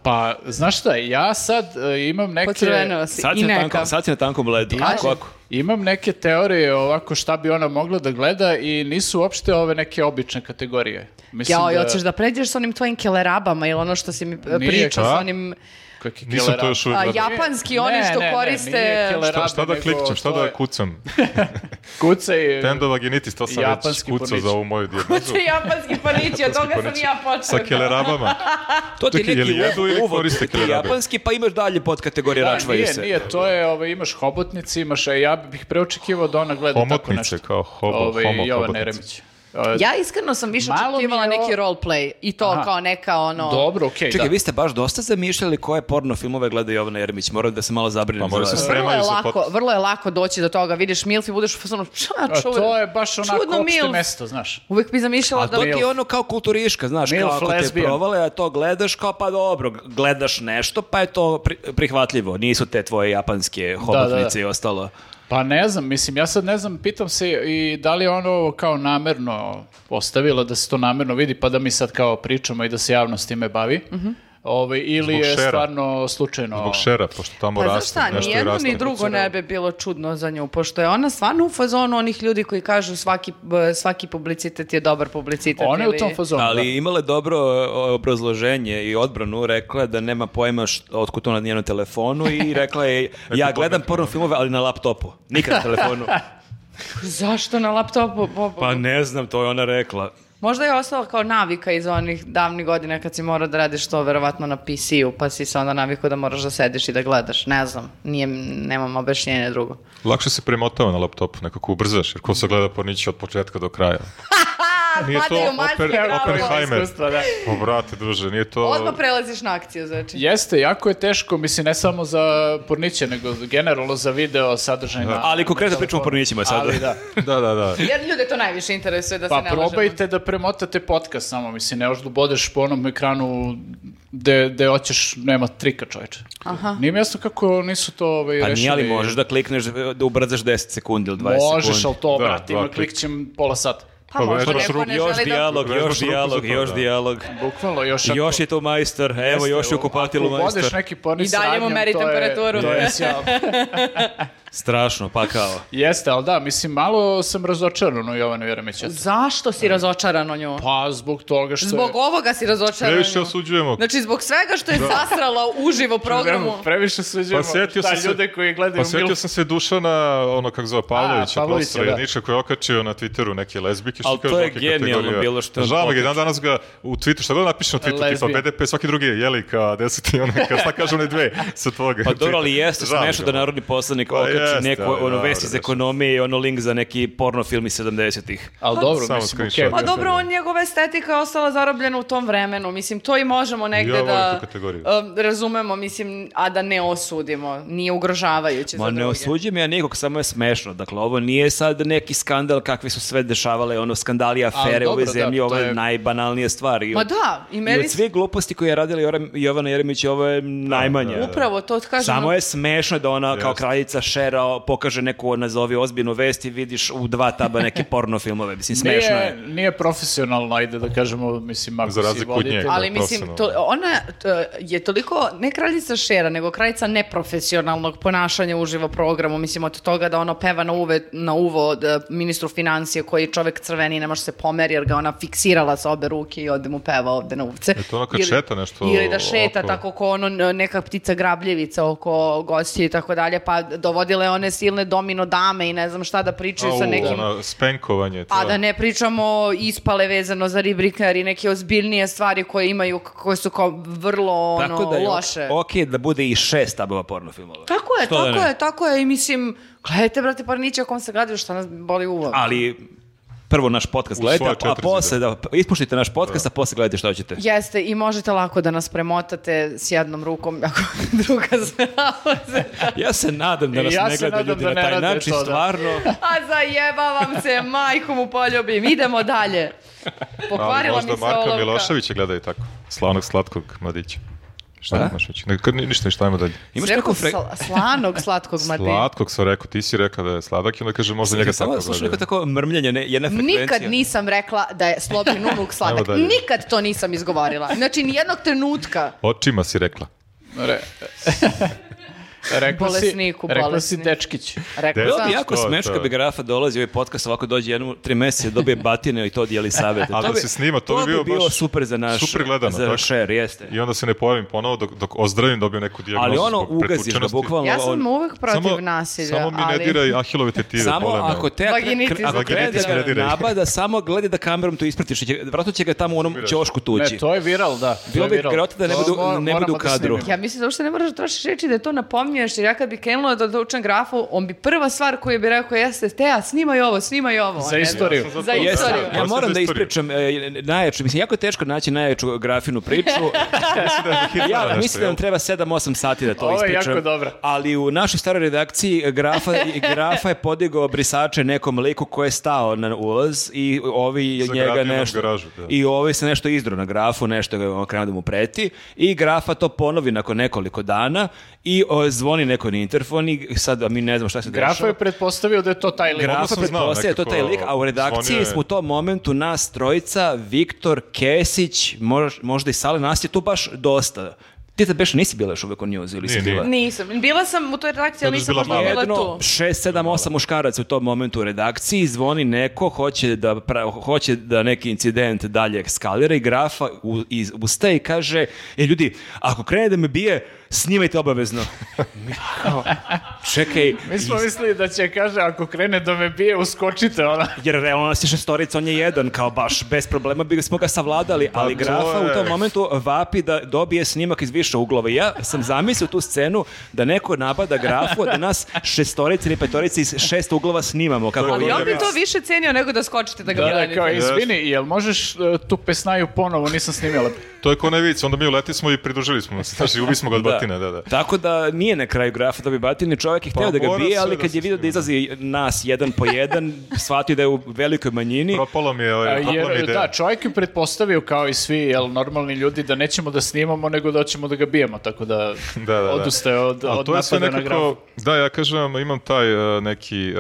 pa, znaš šta, ja sad e, imam neke... Pocrvenila si Sad i si, na neka. tankom, sad si na tankom ledu. Ako, ako. Imam neke teorije ovako šta bi ona mogla da gleda i nisu uopšte ove neke obične kategorije. Mislim Jao, i da... hoćeš da pređeš s onim tvojim kelerabama ili ono što si mi e, Nije, pričao a? s onim Kaki Nisam to još a, uvijek gledao. japanski, Ne, oni ne, što ne, koriste... nije Šta, keleraba. šta da nego klikćem, šta to da je- kucam? Kucaj... e, Tendovaginitis, to sam već Japanski kucao pornić. za ovu moju dijagnozu. To je japanski panići, od pa toga sam Pornić. ja Sa počela. kelerabama. To ti je Čekaj, neki je li jedu ili uvod, koriste ti kelerabe? japanski, pa imaš dalje pod kategorije Da, račvaju nije, se. nije, to je, ovaj, imaš hobotnice, imaš, a ja bih preočekivao da ona gleda tako Homotnice, nešto. kao hobo, Ovaj, homo, Jovan hobotnice. Jeremić. E, Ja iskreno sam više Malo mi je očekivala ovo- neki roleplay i to Aha. kao neka ono... Dobro, okej, Čekaj, da. vi ste baš dosta zamišljali koje porno filmove gleda Jovana Jeremić. Moram da se malo zabrinem. Pa mora se za vas. sve- Vrlo je, Spremaju se lako, pot- vrlo je lako doći do toga, vidiš Milf i budeš u fazonu, šta A čuvar- to je baš čudno onako opšte Milf. mesto, znaš. Uvijek bi zamišljala A da... to ti je ono kao kulturiška, znaš, Milf kao ako te lesbijan. provale, a to gledaš kao pa dobro, gledaš nešto, pa je to pri- prihvatljivo. Nisu te tvoje japanske hobotnice i ostalo. Pa ne znam, mislim, ja sad ne znam, pitam se i da li je ono kao namerno ostavila da se to namerno vidi, pa da mi sad kao pričamo i da se javnost time bavi. Ovaj, ili Zbog je šera. stvarno slučajno... Zbog šera, pošto tamo Pa znaš raste, šta, nešto ni i jedno raste. ni drugo ne bi bilo čudno za nju, pošto je ona stvarno u fazonu onih ljudi koji kažu svaki, b- svaki publicitet je dobar publicitet. Ona je u ili- tom fazonu. Ali imala je dobro e, obrazloženje i odbranu, rekla je da nema pojma št- otkud to na njenom telefonu i rekla je ja gledam porno filmove ali na laptopu, nikad na telefonu. Zašto na laptopu? Bo- bo- Pa ne znam, to je ona rekla. Možda je ostala kao navika iz onih davnih godina kad si morao da radiš to verovatno na PC-u, pa si se onda navikao da moraš da sediš i da gledaš. Ne znam, nije, nemam objašnjenje drugo. Lakše se premotava na laptopu, nekako ubrzaš, jer ko se gleda porniće od početka do kraja. A, Nije to hvataju maske, oper, bravo. Oppenheimer. Iskustva, da. O, brate, druže, nije to... Odmah prelaziš na akciju, znači. Jeste, jako je teško, mislim, ne samo za porniće, nego generalno za video sadržaj. na- Ali konkretno na pričamo o telefonu. pornićima sada. Ali da. Da, da, da. Jer ljude to najviše interesuje da Pa se ne lažemo. probajte da premotate podcast samo, mislim, ne možeš da ubodeš po onom ekranu gde, gde hoćeš, nema trika čoveče. Aha. Nije mi jasno kako nisu to ovaj, Pa rešili. nije, ali možeš da klikneš, da ubrzaš 10 sekundi ili 20 sekundi. Možeš, ali to, Da, brate, dva ima klik ćem pola sata. Pa Pa možda vežbaš neko ne Još želi da... dijalog, Vežbaš još ruku za dijalog, to, još da. dijalog. Bukvalno, još... ako- Još je tu majstor, evo jeste, još je u kupatilu Ako ubodeš majstor. neki porni I dalje mu sradnjom, meri to je- temperaturu. To je sjajno. Strašno, pa kao. Jeste, ali da, mislim, malo sam razočaran u Jovanu Jeremića. Zašto si razočaran o nju? Pa, zbog toga što Zbog je... ovoga si razočaran o Previše nju. osuđujemo. Znači, zbog svega što je sasrala uživo programu. Previše suđemo Pa setio sam šta se- ljude koji gledaju Pa sjetio Milf. sam se Dušana, ono kako zove, Pavlovića, Pavlovića, profesora da. Jedniča, koji je okačio na Twitteru neke lezbike. što Ali to kaže, je neke genijalno kategorije. bilo što je Žao mi ga, okačio. dan danas ga u Twitteru, šta god napiše na Twitteru, tipa Lezbije. BDP, svaki drugi je jelika, deseti, ono, kad šta kažu one dve sa tvoga. Pa dobro, ali Twitteru. jeste Žao mi smešno ga. da narodni poslanik Pa okači jeste, neku ali ono dobro, vest iz znaš. ekonomije i ono link za neki porno film iz 70-ih. Ali dobro, Samo mislim, screenshot. okej. Pa dobro, on, njegova estetika je ostala zarobljena u tom vremenu. Mislim, to i možemo negde Ja volim da tu kategoriju. um, razumemo, mislim, a da ne osudimo. Nije ugrožavajuće za Ma druge. ne osuđujem ja nikog, samo je smešno. Dakle, ovo nije sad neki skandal kakvi su sve dešavale, ono skandali, afere u ovoj dobro, da, zemlji, ovo to je, je- najbanalnije stvar. I Ma od- da, i I meni od se- sve gluposti koje je radila Jora- Jovana Jeremić, ovo je najmanje. upravo to kažem. Samo je smešno da ona kao Jeste. kraljica šera tera, pokaže neku, nazovi ozbiljnu vest i vidiš u dva taba neke porno filmove. Mislim, smešno Nije, je. nije profesionalno, ajde da kažemo, mislim, ako Za si razliku od voditelj. njega. Ali Da, mislim, to, profesionalno. ona t- je toliko, ne kraljica šera, nego kraljica neprofesionalnog ponašanja u živo programu. Mislim, od toga da ono peva na, uve, na uvo od, e, ministru financije koji je čovek crveni i ne može se pomeri jer ga ona fiksirala sa obe ruke i ovde mu peva ovde na uvce. E, to ono kad Ili- šeta nešto Ili da šeta oko- tako ko ono n- neka ptica grabljevica oko gostije i tako dalje, pa dovodile one silne domino dame i ne znam šta da pričaju sa Au, nekim... ono, spenkovanje. to A je. da ne pričamo o ispale vezano za ribrikar i neke ozbiljnije stvari koje imaju, koje su kao vrlo ono, Tako da je loše. ok da bude i šest tabova porno filmova. Tako je, Što da tako ne? je, tako je i mislim, gledajte brate Parnića o kom se gledaju šta nas boli uvo. Ali prvo naš podcast gledajte, svoja a, a četiri posle da ispuštite naš podcast, a posle gledajte šta hoćete. Jeste, i možete lako da nas premotate s jednom rukom, ako druga se nalaze. Ja se nadam da I nas ja ne se gledaju nadam ljudi da na ne taj rade način, to, da. stvarno. A zajebavam se, majku mu poljubim, idemo dalje. Ali Pokvarila mi se možda Marka olovka. Miloševića gleda i tako. Slavnog slatkog mladića. A? Šta imaš već? Ne, kad- ništa, šta ima dalje? Imaš Rekao neku fre... sla- slanog, slatkog matića. Slatkog sam rekao, ti si rekao da je sladak i onda kaže možda njega Samo tako da slušam neko gleda. tako mrmljenje, ne, jedna frekvencija. Nikad nisam rekla da je slobin unuk sladak. Ajmo dalje. Nikad to nisam izgovorila. Znači, nijednog trenutka. Očima si rekla. Re... rekla Bolesniku, si, rekla si bolesnik. dečkić. Rekla Deo Bilo bi sam, Ja- jako To je smešno to. kad bi Grafa dolazio u ovaj podcast, ovako dođe jednom tri mjeseca, dobije batine i to dijeli savjete. A To da bi- se snima, to bi bio baš super za naš, super gledano, za tako. share, jeste. I onda se ne pojavim ponovo dok, dok ozdravim dobijem neku dijagnozu. Ali ono zbog ugaziš da pretučenosti. bukvalno... ja sam on- uvek protiv Samo- nasilja. Samo mi ali... ne diraj ahilove tetive. Samo bole me. ako te Vaginitis. ako krene Vaginitis ne da ga diraj. nabada, samo gledi da kamerom to ispratiš. Će, vratno će ga tamo u onom ćošku tući. E, Ne, to je viral, da. to Bilo je bi viral. grota da ne To budu- mo- ne budu moramo u da kadru. snimimo. Ja mislim da uopšte ne moraš da trošiš reći da je to napominješ, jer ja kad bi krenula da, da učem grafu, on bi prva stvar koju bi rekao jeste, te, a snimaj ovo, snimaj ovo. Za Ne, istoriju. Ja sam Za to. istoriju. Jesam, Sorry. Ja ja sam moram za da istoriju. ispričam e, najjaču, mislim, jako je teško naći najjaču grafinu priču. ja nešto, mislim da nam jel? treba 7-8 sati da to Ovo je ispričam. jako dobro. Ali u našoj staroj redakciji e, grafa, i grafa je podigao brisače nekom liku koji je stao na ulaz i ovi Zagradio njega nam nešto... garažu, da. I ovi se nešto izdro na grafu, nešto ga on krenuo da mu preti i grafa to ponovi nakon nekoliko dana i o, zvoni neko na interfon i sad a mi ne znamo šta se Grafa dešava. je pretpostavio da je to taj lik. Grafa Odnosno, znao pretpostavlja to nekako, taj lik, a u redakciji zvonio je. smo u tom momentu nas trojica, Viktor, Kesić, mož- možda i Sale, nas je tu baš dosta. Ti tad beš nisi bila još uvek u njuzu ili si Nije, nije. bila? Nisam. Bila sam u toj redakciji, ali Tad je nisam bila možda mala. bila Jedno, tu. šest, sedam, osam muškaraca u tom momentu u redakciji, zvoni neko, hoće da, pra- hoće da neki incident dalje eskalira i grafa u, iz, ustaje i kaže, e ljudi, ako krene da me bije, snimajte obavezno. Mi kao, Čekaj, Mi smo mislili da će, kaže, ako krene da me bije, uskočite, ono. ona. jer realno nas je šestorica, on je jedan, kao baš, bez problema bi smo ga savladali, ali to grafa u je. tom momentu vapi da dobije snimak iz više uglova. I Ja sam zamislio tu scenu da neko napada grafu, a da nas šestorica ili petorica iz šest uglova snimamo. Kako Ali vi- on bi to više cenio nego da skočite da ga Da, da, branite. kao, Jeste. izvini, jel možeš e, tu pesnaju ponovo, nisam snimila. To je ko ne vic, onda mi uleti smo i pridružili smo se. Znači, ubi smo ga od batine, da, da. Tako da nije na kraju grafa da bi batini čovjek je htio da ga mora bije, sve ali da kad se je vidio da snima. izlazi nas jedan po jedan, shvatio da je u velikoj manjini. Propalo mi je, A, ovaj, propala mi je E, Jer, ideja. da, čovjek je pretpostavio kao i svi, jel, normalni ljudi, da nećemo da snimamo, nego da ćemo da ga bijemo, tako da, Da, da, da. odustaje od, Ali od to je sve napada na grafu. nekako, da, ja kažem, vam, imam taj e, neki, e,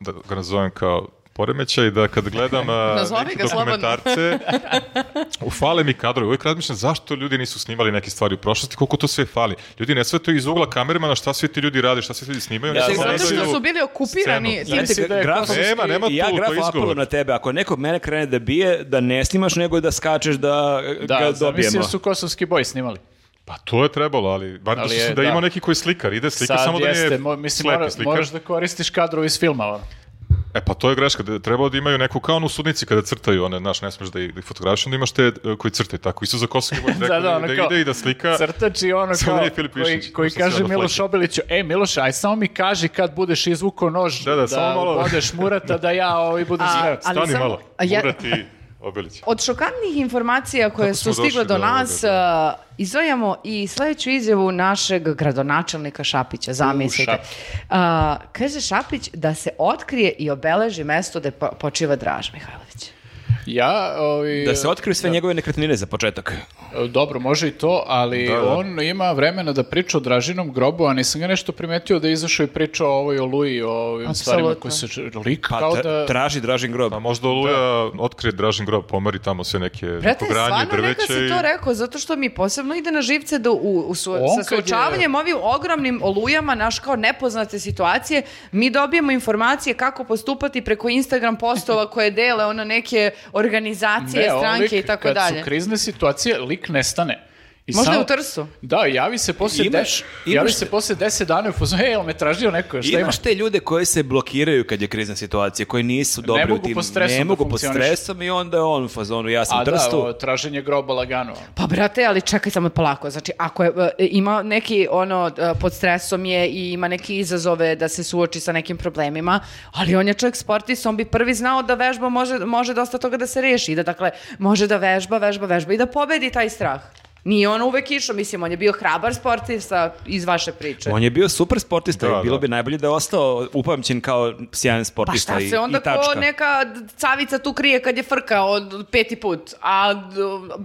da ga nazovem kao poremećaj, da kad gledam e, Nazovi neke ga slobodno. dokumentarce, ufale mi kadrovi. Uvijek razmišljam zašto ljudi nisu snimali neke stvari u prošlosti, koliko to sve fali. Ljudi ne sve to iz ugla kamermana, šta svi ti ljudi rade, šta svi ti ljudi snimaju. oni Ja, samo Zato što gledaju su bili okupirani. scenu. tim- Znači, Znate, da je graf, kosovski- Nema, nema ja tu, to je graf izgovor. apelujem na tebe. Ako neko mene krene da bije, da ne snimaš, nego da skačeš da, e, Da, ga zamisli dobijemo. da su kosovski boji snimali. Pa to je trebalo, ali bar da Ali što je, sam da, da. ima neki koji je slikar, ide slika, Sad samo da jeste, nije mo- mislim, slepi mora- slikar. moraš da koristiš kadrove iz filma, ono. E pa to je greška, da je trebalo da imaju neku kao ono u sudnici kada crtaju, one, znaš, ne smeš da ih da ih fotografiš, onda imaš te e, koji crtaju tako. Isto za Kosovo ima Da, da, da, da, ono kao ide i da slika. Crtač i ono Samo kao, nije Filip koji, Višnjić, koji pošto se kaže ono Miloš plaća. Obiliću, e Miloš, aj samo mi kaži kad budeš izvukao nož da, Da, da, samo malo." ubodeš murata da ja ovi budem sve. ali Stani samo- malo, a ja- Murat i Obilić. Od šokantnih informacija koje Kako su smo stigle došli do do nas, ovoga, uh, izdvajamo i sledeću izjavu našeg gradonačelnika Šapića, zamislite. Eh, Šapić. A, kaže Šapić da se otkrije i obeleži mesto da počiva Draž Mihajlović. Ja, ovi, Da se otkriju sve njegove nekretnine za početak. E, Dobro, može i to, ali Da, da. on ima vremena da priča o Dražinom grobu, a nisam ga nešto primetio da je izašao i pričao o ovoj Oluji, o ovim stvarima Apsolutno. koje se č- lik Pa kao tra- da... Pa, traži Dražin grob. A Pa možda Oluja otkrije Dražin grob, pomeri tamo sve neke Brate, neko granje, stvarno neka drveće si i... to rekao, zato što mi posebno ide na živce da u, u su, On sa kad je- suočavanjem ovim ogromnim olujama, naš kao nepoznate situacije, mi dobijemo informacije kako postupati preko Instagram postova koje dele ono neke organizacije, Ne, on stranke lik, i tako kad dalje. su krizne situacije, lik nestane. I Možda je samo- u Trstu. Da, javi se posle Imaš- deš, javi imaš- se posle 10 dana i fuzon, ej, jel me tražio neko, šta ima? Imaš te ljude koji se blokiraju kad je krizna situacija, koji nisu dobri u mogu tim, pod stresom ne da mogu pod funkcionišu. stresom i onda je on u fazonu, ja sam A da, trstu. o, traženje groba lagano. Pa brate, ali čekaj samo polako. Znači, ako je, e, ima neki ono e, pod stresom je i ima neke izazove da se suoči sa nekim problemima, ali on je čovjek sportist, on bi prvi znao da vežba može može dosta toga da se reši, i da dakle može da vežba, vežba, vežba i da pobedi taj strah. Nije on uvek išao, mislim, on je bio hrabar sportista iz vaše priče. On je bio super sportista Da, i bilo da. bi najbolje da je ostao upamćen kao sjajan Pa sportista šta i, se onda i tačka. ko neka d- cavica tu krije kad je frka od peti put, a d-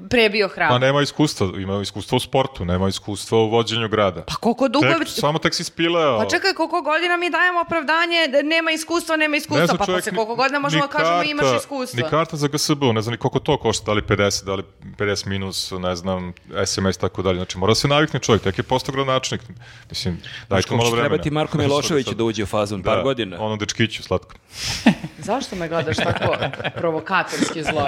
pre je bio hrabar. Pa nema iskustva, ima iskustva u sportu, nema iskustva u vođenju grada. Pa koliko dugo... Tek, samo tek si spileo. Pa čekaj, koliko godina mi dajemo opravdanje da nema iskustva, nema Ne iskustva, zna pa čovjek posle ni- koliko godina ni možemo da kažemo imaš karta- iskustva. Ni karta za GSB, ne znam ni koliko to košta, da li 50, da li 50 minus, ne znam, SMS i tako dalje. Znači mora se navikne čovjek, tek je postao gradonačelnik. Mislim, dajte malo vremena. Treba ti Marko Miloševiću da uđe u fazon par godina. Onom dečkiću, slatko. Zašto me gledaš tako provokatorski zlo?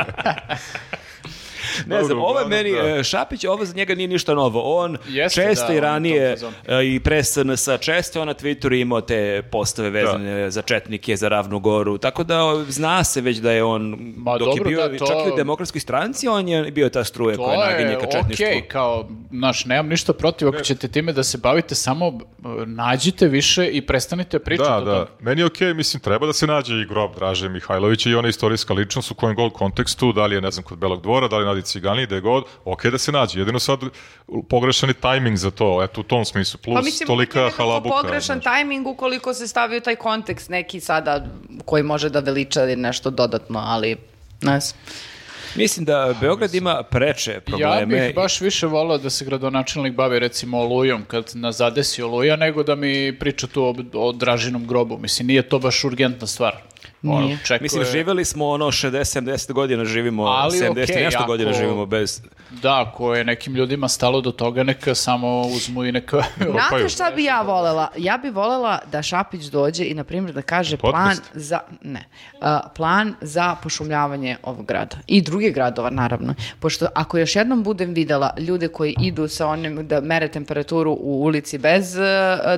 Ne znam, Dobro, ovo je uglavnom, meni, da. e, Šapić, ovo za njega nije ništa novo. On Jeste, često da, i on u ranije tom fazonu. e, i pre SNS često je on na Twitteru imao te postave vezane za Četnike, za Ravnu Goru, tako da o, zna se već da je on, Ma, dok dobro, je bio da, čak i to- u demokratskoj stranci, on je bio ta struja koja To naginje je ka okej, Četništvu. kao, znaš, nemam ništa protiv, ako ćete time da se bavite, samo e, nađite više i prestanite pričati Da, o tome. da. Meni je okej, mislim, treba da se nađe i grob Draže Mihajlovića i ona istorijska ličnost u kojem god kontekstu, da li je, ne znam, kod Belog dvora, da li je Nadi Cigani, da je god, okej da se nađe. Jedino sad pogrešan je tajming za to, eto, u tom smislu. Plus, Pa mislim, uvijek je tolika nekako halabuka. pogrešan znaš. tajming ukoliko se stavi u taj kontekst neki sada koji može da veliča nešto dodatno, ali ne znam. Mislim da Beograd ima preče probleme. Ja bih baš više volao da se gradonačelnik bavi recimo olujom kad nas zadesi oluja nego da mi priča tu o, o Dražinom grobu. Mislim, nije to baš urgentna stvar. Ono, Nije. čekuje- Mislim, živeli smo ono 60-70 godina živimo, Ali 70 i okej, nešto ako- godina živimo bez... Da, ako je nekim ljudima stalo do toga, neka samo uzmu i neka... Znate šta bi ja volela? Ja bi volela da Šapić dođe i, na primjer, da kaže Podcast? plan za, ne, a, plan za pošumljavanje ovog grada i drugih gradova, naravno. Pošto ako još jednom budem videla ljude koji idu sa onim da mere temperaturu u ulici bez e,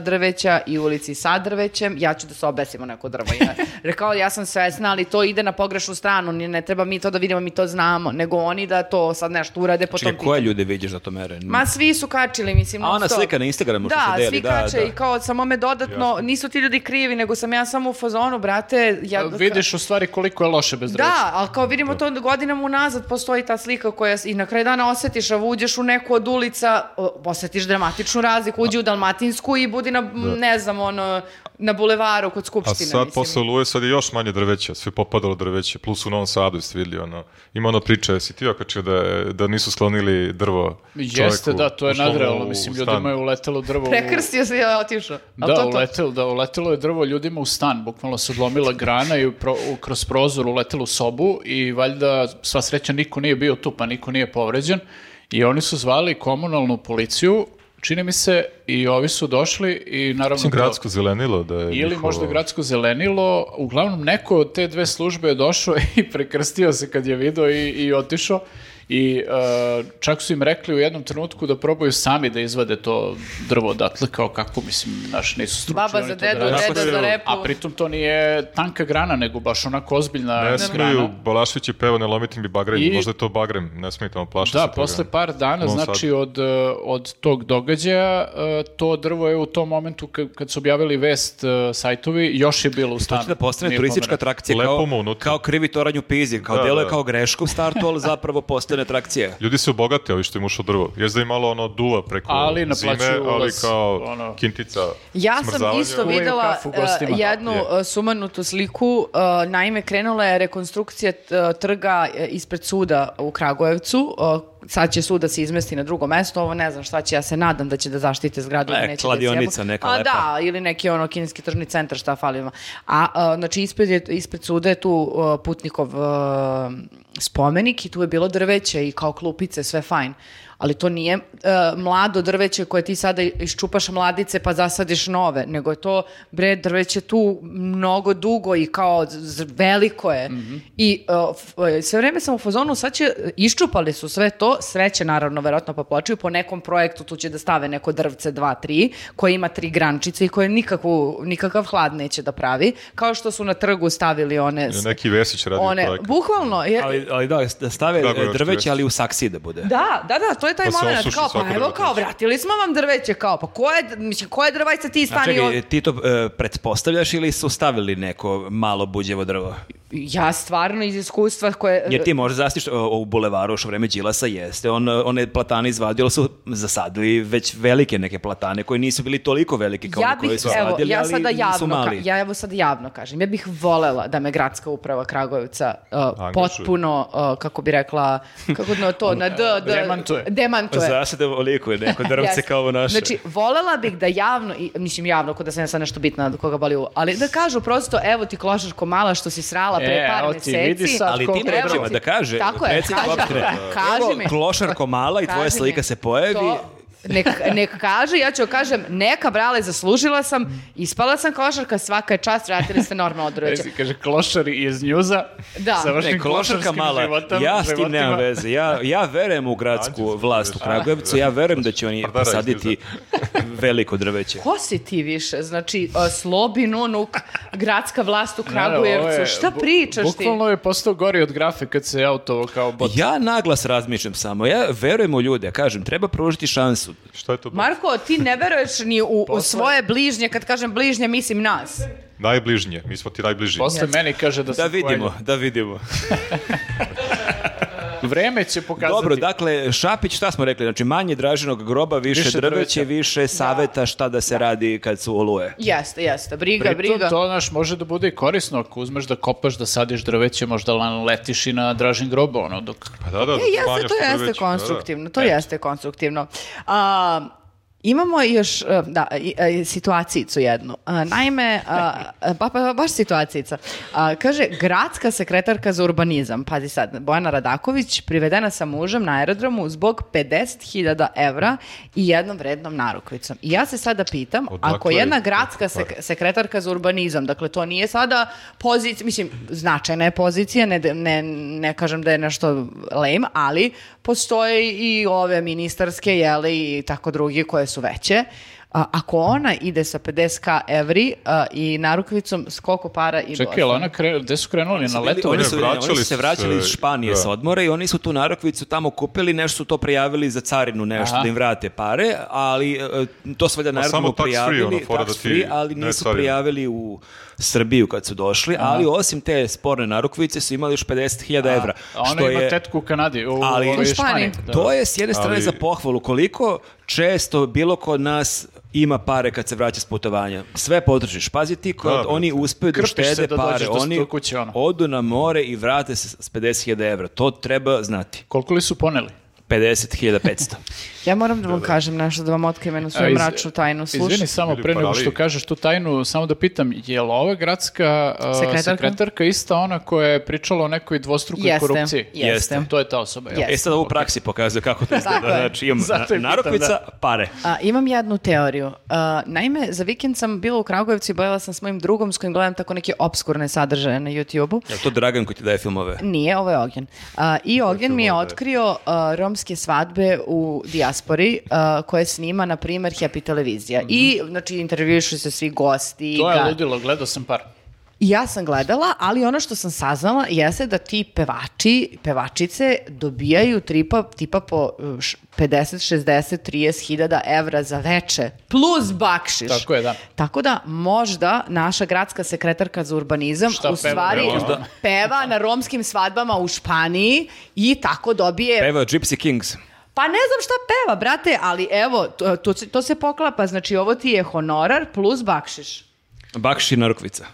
drveća i ulici sa drvećem, ja ću da se obesim o neko drvo. Ja, rekao, ja sam svesna, ali to ide na pogrešnu stranu, ni- ne treba mi to da vidimo, mi to znamo, nego oni da to sad nešto urade po tom Čekaj, koje ljude vidiš da to mere? Ma svi su kačili, mislim. A ona non-stop. slika na Instagramu što da, se deli, svi da, kače da. i kao samo me dodatno, nisu ti ljudi krivi, nego sam ja samo u fazonu, brate. Ja, Vidiš u stvari koliko je loše bez drveća. Da, ali kao vidimo to godinama unazad postoji ta slika koja i na kraju dana osjetiš, a uđeš u neku od ulica, o- osjetiš dramatičnu razliku, uđi u Dalmatinsku i budi na, m, ne znam, ono, na bulevaru kod A Skupštine. Pa sad mislim. posle Oluje sad je još manje drveća, sve popadalo drveće, plus u Novom Sadu ste vidjeli ono, ima ono priča, jesi ti okačio da, je- da nisu sklonili drvo Jeste, čoveku, da, to je ušlo mu nadrealno. u Mislim, stan. ljudima je uletelo drvo u... Prekrstio se i otišao. Al Da, to, to. uletelo, da, uletelo je drvo ljudima u stan, bukvalno se odlomila grana i pro- u- kroz prozor uletelo u sobu i valjda sva sreća niko nije bio tu, pa niko nije povređen i oni su zvali komunalnu policiju, čini mi se, i ovi su došli i naravno... Mislim, gradsko zelenilo da je ono- Ili njihovo- možda gradsko zelenilo, uglavnom neko od te dve službe je došao i prekrstio se kad je video i, i otišao i e, čak su im rekli u jednom trenutku da probaju sami da izvade to drvo odatle, kao kako, mislim, naš nisu stručni. Baba oni za to da dedu, rade. Tako deda je, za repu. A pritom to nije tanka grana, nego baš onako ozbiljna Ne grana. smeju, Balašević je pevao, ne lomiti mi bagrem, I- možda je to bagrem, ne smije tamo plaša Da, posle par dana, U Novom znači Sadu. od, e, od tog događaja, e, to drvo je u tom momentu ka- kad su objavili vest e, sajtovi, još je bilo u stanu. Hoće da postane Nije turistička pomereno. atrakcija Lepo kao, mu unutra. kao krivi toranj u Pizi, kao Da, delo je da. kao greška u startu, ali zapravo postaje društvene atrakcije. Ljudi se obogate, ovi što im ušao drvo. Jeste da im malo ono duva preko Ali zime, naplaćuju ali ulaz, kao ono. kintica Ja sam smrzavanja. isto Uvek videla kafu gostima. e, jednu Je. e, sumanutu sliku. e, naime, krenula je rekonstrukcija e, trga e, ispred suda u Kragujevcu. E, sad će sud da se izmesti na drugo mesto. Ovo ne znam šta će, ja se nadam da će da zaštite zgradu. da E, neće da se kladionica jebu. neka A, lepa. da, ili neki ono kineski tržni centar, šta fali ima. A, e, znači, ispred, je, ispred suda je tu e, putnikov e, spomenik i tu je bilo drveće i kao klupice, sve fajn. Ali to nije e, mlado drveće koje ti sada iščupaš mladice pa zasadiš nove, nego je to, bre, drveće tu mnogo dugo i kao z- veliko je. Mhm. I e, f- e, sve vreme sam u fazonu, sad će, iščupali su sve to, sreće naravno, verovatno pa plaćaju, po nekom projektu tu će da stave neko drvce 2-3, koje ima tri grančice i koje nikakvu, nikakav hlad neće da pravi, kao što su na trgu stavili one... s- Neki Vesić radi one projekat. bukvalno, jer, Ali, ali da, da stave Kako je e, drveće, oštrijest? ali u saksiji da bude. Da, da, da, to je taj Pa se moment, osuši kao, svako pa evo drveće. kao, vratili smo vam drveće, kao, pa koje, mislim, koje drvajce ti A stani čekaj, ovdje? ti to e, pretpostavljaš ili su stavili neko malo buđevo drvo? Ja stvarno iz iskustva koje... Jer ti možda zastiš o, u bulevaru još u vreme Đilasa jeste, on, e, one platane izvadio, ali su zasadili već velike neke platane koje nisu bili toliko velike kao ja one koje bih, su evo, sadili, ja ali sada nisu javno, ka, mali. ja evo sad javno kažem, ja bih volela da me gradska uprava Kragujevca uh, Angažuje. potpuno, uh, kako bi rekla, kako no, Ono, to, na d, d, Demantuje. demantuje. Zasade oliko je neko drvce Jeste. kao ovo naše. Znači, volela bih da javno, i, mislim javno, kod da sam ja sad nešto bitna do koga boli uvo, ali da kažu prosto, evo ti klošarko mala što si srala pre E, par evo ti, meseci. vidi sad Ali koliko tim Evo rečima ti. da kaže, Tako je, predsjednik kaži- opštine, kaži evo, mi. klošarko mala i tvoja Kaži slika mi, se pojavi. to- Nek, nek kaže, ja ću joj kažem, neka brale, zaslužila sam, ispala sam košarka, svaka je čast, vratili ste normalno drveće. Ezi, kaže klošari iz njuza. Da. sa vašim Ne, klošarka klošarskim mala, životom, ja s tim životima. nemam veze. Ja, ja verujem u gradsku Anđelsko vlast u drveće. Kragujevcu, ja verujem da će oni Pardara iz posaditi veliko drveće. Ko si ti više? Znači, e, Slobin, unuk, gradska vlast u Naravno, ovo je- Kragujevcu, šta bu- pričaš ti? Bukvalno je postao gori od grafe kad se autovo kao bot. Ja naglas razmišljam samo, ja verujem u ljude, kažem, treba pružiti šansu. Šta je to? bilo? Marko, ti ne veruješ ni u, u svoje bližnje, kad kažem bližnje, mislim nas. Najbližnje, mi smo ti najbliži. Posle meni kaže da, Da sam vidimo, da vidimo. pojedin. Vreme će pokazati. Dobro, dakle, Šapić, šta smo rekli? Znači, manje draženog groba, više, Više drveće, drveća. više saveta šta da se radi kad su oluje. Jeste, jeste, briga, Pritom, briga. to naš može da bude i korisno ako uzmeš da kopaš, da sadiš drveće, možda lan- letiš i na dražin grobo, ono, dok Pa da, da, E, jeste, Vanja to što jeste drveće, da, da. konstruktivno, to jeste konstruktivno. A, imamo još, e, da, i- e, situacijicu jednu. A, naime, a, ba- ba- baš situacijica. A, kaže, gradska sekretarka za urbanizam, pazi sad, Bojana Radaković, privedena sa mužem na aerodromu zbog 50.000 evra i jednom vrednom narukvicom. I ja se sada pitam, Odakle ako jedna je to gradska pare? sek- sekretarka za urbanizam, dakle to nije sada pozicija, mislim, značajna je pozicija, ne, ne, ne kažem da je nešto lame, ali postoje i ove ministarske, jeli, i tako drugi koje su veće. A, ako ona ide sa 50k evri a, i narukvicom, s koliko para i Čekaj, jel ona kre... gde su krenuli? Na leto? oni, Oni su, vraćali oni su se su vraćali se, iz Španije da. sa odmora i oni su tu narokvicu tamo kupili, nešto su to prijavili za carinu, nešto Aha. da im vrate pare, ali e, to sve da samo naravno tax free, prijavili, ono, fora da tax ti free, ali ne nisu carina. prijavili u Srbiju kad su došli, ali osim te sporne narokvice su imali još 50.000 evra. A ona što ima je, tetku u Kanadi, u, Ali- ovoj U Španiji. Španiji. Da. To je s jedne strane Ali- za pohvalu. Koliko često bilo kod nas ima pare kad se vraća s putovanja. Sve potrošiš. Pazi ti, kod, Da, brate. oni uspeju da Krpiš se štede da pare. dođeš do oni sto kuće, ono. odu na more i vrate se s 50.000 evra. To treba znati. Koliko li su poneli? 50.500. Ja moram da vam kažem nešto, da vam otkrijem jednu svoju A, iz- mračnu tajnu. Slušaj. Izvini samo Ili pre pa nego parali. što kažeš tu tajnu, samo da pitam, je li ova gradska a, Sekretarka? sekretarka? ista ona koja je pričala o nekoj dvostrukoj Jeste, korupciji? jeste. To je ta osoba, jel? Jeste. E sad ovo u praksi pokazuje kako to Tako izgleda. je. Znači imam Zato je pitam, narokvica, pare. A, imam jednu teoriju. A, naime, za vikend sam bila u Kragujevcu i bavila sam s mojim drugom s kojim gledam tako neke obskurne sadržaje na YouTube-u. Jel to Dragan koji ti daje filmove? Dakle. Nije, ovo je Ognjen. A, I Ognjen mi je ovo da je. otkrio a, romske svadbe u dijaspori a, koje snima, na primjer, Happy Televizija. I, znači, intervjujušu se svi gosti. Mhm. To je ga- ludilo, gledao sam par. I Ja sam gledala, ali ono što sam saznala jeste da ti pevači, pevačice dobijaju tripa, tipa po uh, š- 50, 60, 30 hiljada evra za veče, plus bakšiš. Tako je, da. Tako da možda naša gradska sekretarka za urbanizam Šta u peva? ono? stvari Peva peva, možda. na romskim svadbama u Španiji i tako dobije Evo, Gypsy Kings. pa ne znam šta peva, brate, ali evo, to, to, se- to se poklapa, znači ovo ti je honorar plus bakšiš. Bakši Narukvica.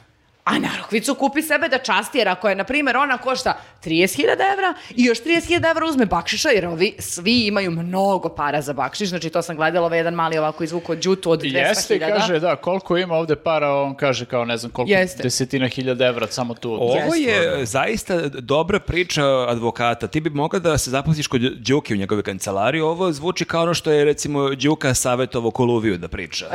A narokvicu kupi sebe da časti, jer ako je, na primjer, ona košta 30.000 evra i još 30.000 evra uzme bakšiša, jer ovi svi imaju mnogo para za bakšiš, znači to sam gledala, ovaj jedan mali ovako izvuk od džutu od 200.000. Jeste, kaže, da, koliko ima ovde para, on kaže kao ne znam koliko, Jeste. desetina hiljada evra samo tu. Pa Ovo Jeste. je zaista dobra priča advokata. Ti bi mogla da se zaposliš kod Đuki u njegove kancelariji. Ovo zvuči kao ono što je recimo Đuka savjetovo Koluviju da priča.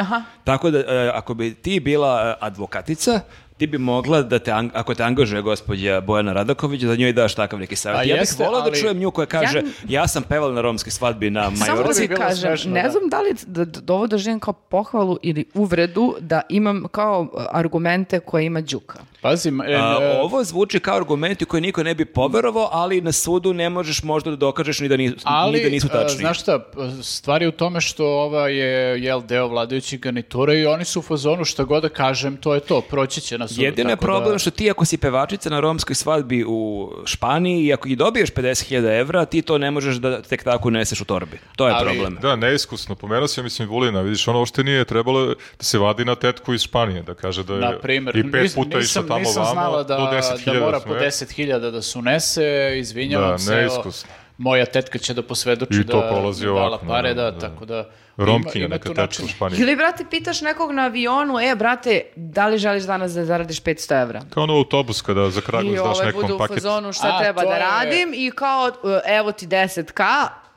Tako da e, ako bi ti bila e, advokatica, ti bi mogla da te, ang- ako te angažuje gospođa Bojana Radaković, da njoj daš takav neki savjet. A ja Pa jeste, bih volao da ali- čujem nju koja kaže, Ja- ja, sam pevala na romskoj svadbi na Samo Majorci. da Majorci ti bi bilo kažem, smešno, ne da. znam da li da, da ovo doživim kao pohvalu ili uvredu da imam kao e, argumente koje ima Đuka. Pazim, e, A, e, ovo zvuči kao argumenti koje niko ne bi poverovao, ali na sudu ne možeš možda da dokažeš ni da nisu, ali, ni da nisu e, tačni. znaš šta, p- stvar je u tome što ova je, jel, deo vladajućih garnitura i oni su u fazonu šta god da kažem, to je to, proći će na sudu. Jedino je tako problem da- što ti ako si pevačica na romskoj svadbi u Španiji i ako i dobiješ 50.000 evra, ti to ne možeš da tek tako uneseš u torbi. To je Ali- problem. Da, neiskusno. Pomenuo si, ja mislim, Vulina. Vidiš, ono uopšte nije trebalo da se vadi na tetku iz Španije, da kaže da je Na primjer, E, i pet nis- puta išla nisam, tamo nisam vamo, znala da, do 10.000 da mora po smo, e. 10.000 da se unese, izvinjavam Da, se. evo, neiskusno. Moja tetka će da posvedoči I to da polazi mi je dala ovako, pare, da, naravno, da. tako da... Romkinja ima- ima neka tu tetka u načina. Španiji. Ili, brate, pitaš nekog na avionu, e, brate, da li želiš danas da zaradiš 500 evra? Kao ono autobus kada za Kragujevac I daš ovaj nekom bude u paket. fazonu šta A, treba to da je- radim i kao, e, evo ti 10k,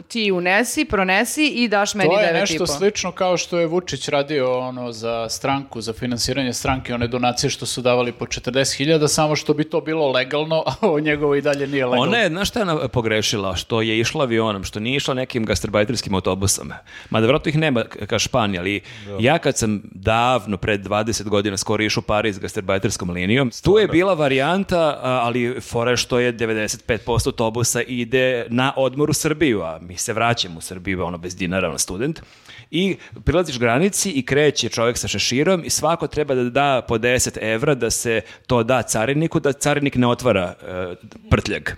ti unesi, pronesi i daš meni 9,5. To je nešto slično kao što je Vučić radio ono za stranku, za finansiranje stranke, one donacije što su davali po 40.000, samo što bi to bilo legalno, a ovo njegovo i dalje nije legalno. Ona je, znaš šta je ona pogrešila? Što je išla avionom, što nije išla nekim gastarbajterskim autobusom. Mada vjerojatno ih nema k- ka Španiji, ali ja kad sam davno, pred 20 godina, skoro išao u Pariz gastarbajterskom linijom, tu je bila varijanta, a, ali fora je što je 95% autobusa ide na odmor u Srbiju, a mi se vraćamo u Srbiju, ono bez dinara, ono student. I prilaziš granici i kreće čovjek sa šeširom i svako treba da da po 10 evra da se to da cariniku, da carinik ne otvara e, prtljag.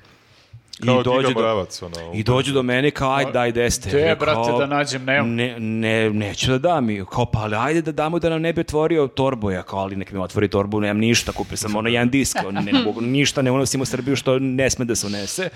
Kao Giga Moravac, ono, u I dođu do mene kao, ajde, daj deste. Gde, Ja Pa, brate, kao, da nađem, nemam. Ne, ne, neću da dam. I Kao, pa ali ajde da damo da nam ne bi otvorio torbu. Ja kao, ali nek mi otvori torbu, nemam ništa, kupio sam ono jedan disk, ono, ne, mogu, ništa ne unosim u Srbiju što ne sme da se unese.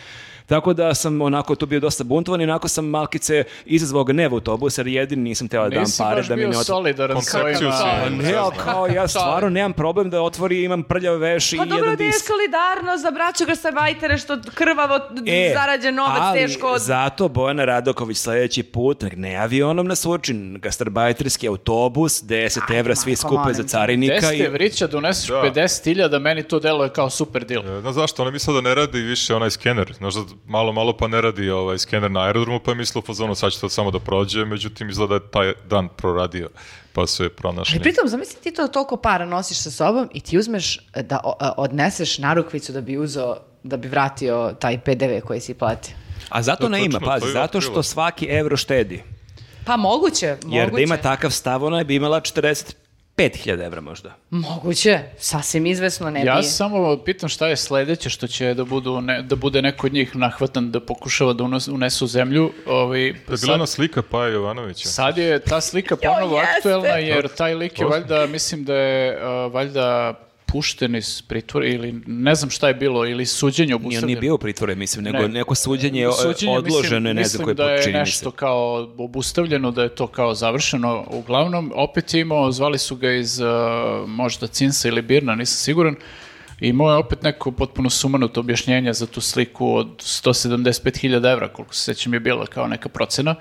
Tako da sam onako tu bio dosta buntovan i onako sam malkice izazvao gnev u autobus jer jedini nisam teo da dam Nisi pare baš da mi bio ne otvori. solidaran s Koncepciju ovima. si imao. Pa ne Ne, ali znam. kao ja stvarno nemam problem da otvori, imam prljav veš i Pa dobro jedan da je disk. solidarno za braću gastarbajtere što krvavo E, zarađen novac ali teško od... zato Bojana Radoković sljedeći put, nek ne avionom na Surčin, gastarbajterski autobus, 10 evra, svi Marko, skupe molim za te. carinika. Deste I... vrića, doneseš Da. 50.000, meni to deluje kao super deal. E, Znaš zašto, ona je mislila da ne radi više onaj skener, znaš da malo, malo pa ne radi ovaj skener na aerodromu, pa je mislila u fazonu sad će to samo da prođe, međutim izgleda da je taj dan proradio, pa su je pronašli. Ali E, pritom, zamisli ti to toliko para nosiš sa sobom i ti uzmeš e, da o- a, odneseš narukvicu da bi uzeo, da bi vratio taj PDV koji si platio. A zato To ne je ima, točno, pazi, to je zato što otkrila. svaki evro štedi. Pa moguće, moguće. Jer da ima takav stav, ona bi imala 45.000 evra možda. Moguće, sasvim izvesno ne Ja bi. samo pitam šta je sledeće što će da, budu ne- da bude neko od njih nahvatan da pokušava da unos- unesu u zemlju. Ovaj, To je sad- bila ona slika Paja Jovanovića. Sad je ta slika ponovo jeste! aktuelna jer taj lik je valjda, mislim da je uh, valjda pušten iz pritvora ili ne znam šta je bilo ili suđenje Nije obustavljeno. on nije bio u pritvore, mislim, nego Ne. neko suđenje, je, e, Suđenje, odloženo je, mislim, ne znam koje Mislim da je počini mi se. nešto kao obustavljeno, da je to kao završeno. Uglavnom, opet je imao, zvali su ga iz uh, možda Cinsa ili Birna, nisam siguran. I imao je opet neko potpuno sumanuto objašnjenje za tu sliku od 175.000 evra, koliko se sećam je bila kao neka procena.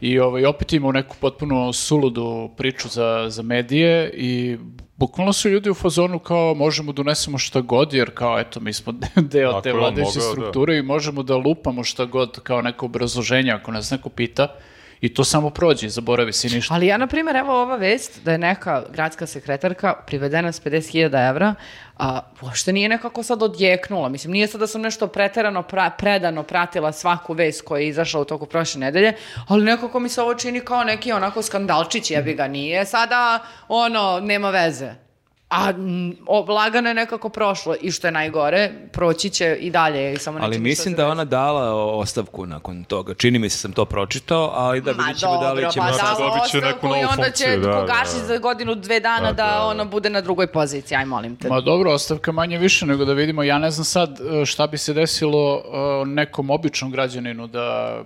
I ovaj, opet je imao neku potpuno suludu priču za, za medije i bukvalno su ljudi u fazonu kao možemo da unesemo šta god, jer kao eto mi smo deo Ako te je on vladajuće mogao, da. strukture i možemo da lupamo šta god kao neko obrazloženje ako nas neko pita I to samo prođe, zaboravi si ništa. Ali ja, na primjer, evo ova vest da je neka gradska sekretarka privedena s 50.000 evra, a uopšte nije nekako sad odjeknula. Mislim, nije sad da sam nešto preterano, pra- predano pratila svaku vest koja je izašla u toku prošle nedelje, ali nekako mi se ovo čini kao neki onako skandalčić, jebi ga, nije sada, ono, nema veze. A m, o, lagano je nekako prošlo i što je najgore, proći će i dalje. i Samo Ali neće ništa mislim se da je desiti. ona dala o- ostavku nakon toga. Čini mi se sam to pročitao, ali da Ma vidjet ćemo da li dobro, ćemo... pa Sad da, dobit će neku ostavku i novu onda će funkciju, da, Kogašić da. za godinu, dve dana Pa da, da. ono bude na drugoj poziciji, aj molim te. Ma dobro, ostavka manje više nego da vidimo. Ja ne znam sad e, šta bi se desilo e, nekom običnom građaninu da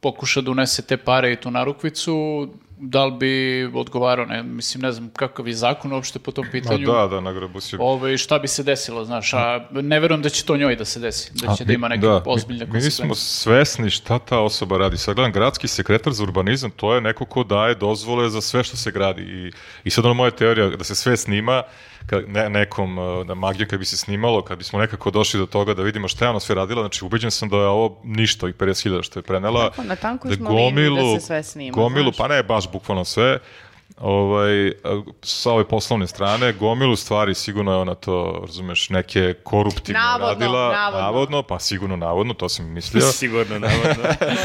pokuša da unese te pare i tu narukvicu, da li bi odgovarao, ne, mislim, ne znam kakav je zakon uopšte po tom Ma pitanju. da, da, nagrabu si. Ovaj, šta bi se desilo, znaš, a ne verujem da će to njoj da se desi, da će da ima neke Da, ozbiljne mi- Mi nismo konsekvence. svesni šta ta osoba radi. Sad gledam, gradski sekretar za urbanizam, to je neko ko daje dozvole za sve što se gradi. I, i sad ono moja teorija, da se sve snima, ka, ne, nekom, e, da magija kad bi se snimalo, kad bismo nekako došli do toga da vidimo šta je ona sve radila, znači ubeđen sam da je ovo ništa, i 50.000 što je prenela. Tako, na tankoj smo liniji da se sve snima, Gomilu, znaš. pa ne baš bukvalno sve, ovaj, a, sa ove poslovne strane, gomilu stvari sigurno je ona to, razumeš, neke koruptivne Navodno, radila, navodno. navodno, pa sigurno navodno, to sam i mislio. Sigurno, navodno.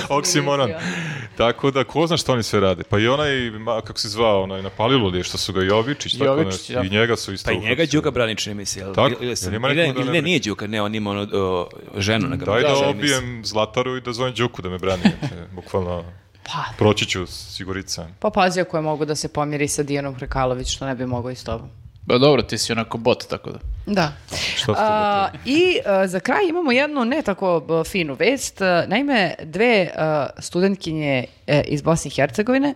Oksimoron. mislio. Tako da, ko zna šta oni sve rade. Pa i onaj, ma, kako se zvao, onaj na Palilu li je što su ga Jovičić, tako Jovičić, nešto, da. i njega su isto Pa i njega uhapsili. Đuka Branić ne misli. Jel, Tako, ili sam- jel ima ili ne, neko da ili ne ne, nije Đuka, ne, on ima ono, o, ženu na ga Daj da Branića, ja mislim. obijem Zlataru i da zovem Đuku da me brani. Te, Bukvalno, Pa, proći ću sigurica. pa pazi ako je mogu da se pomiri sa Dijanom Hrkalović, što ne bi mogao i s tobom. Ba Pa dobro, ti si onako bot, tako da. Da. Šta ste A, gotovi? I a, za kraj imamo jednu ne tako b, finu vest. A, Naime, dve a, studentkinje e, iz Bosne i Hercegovine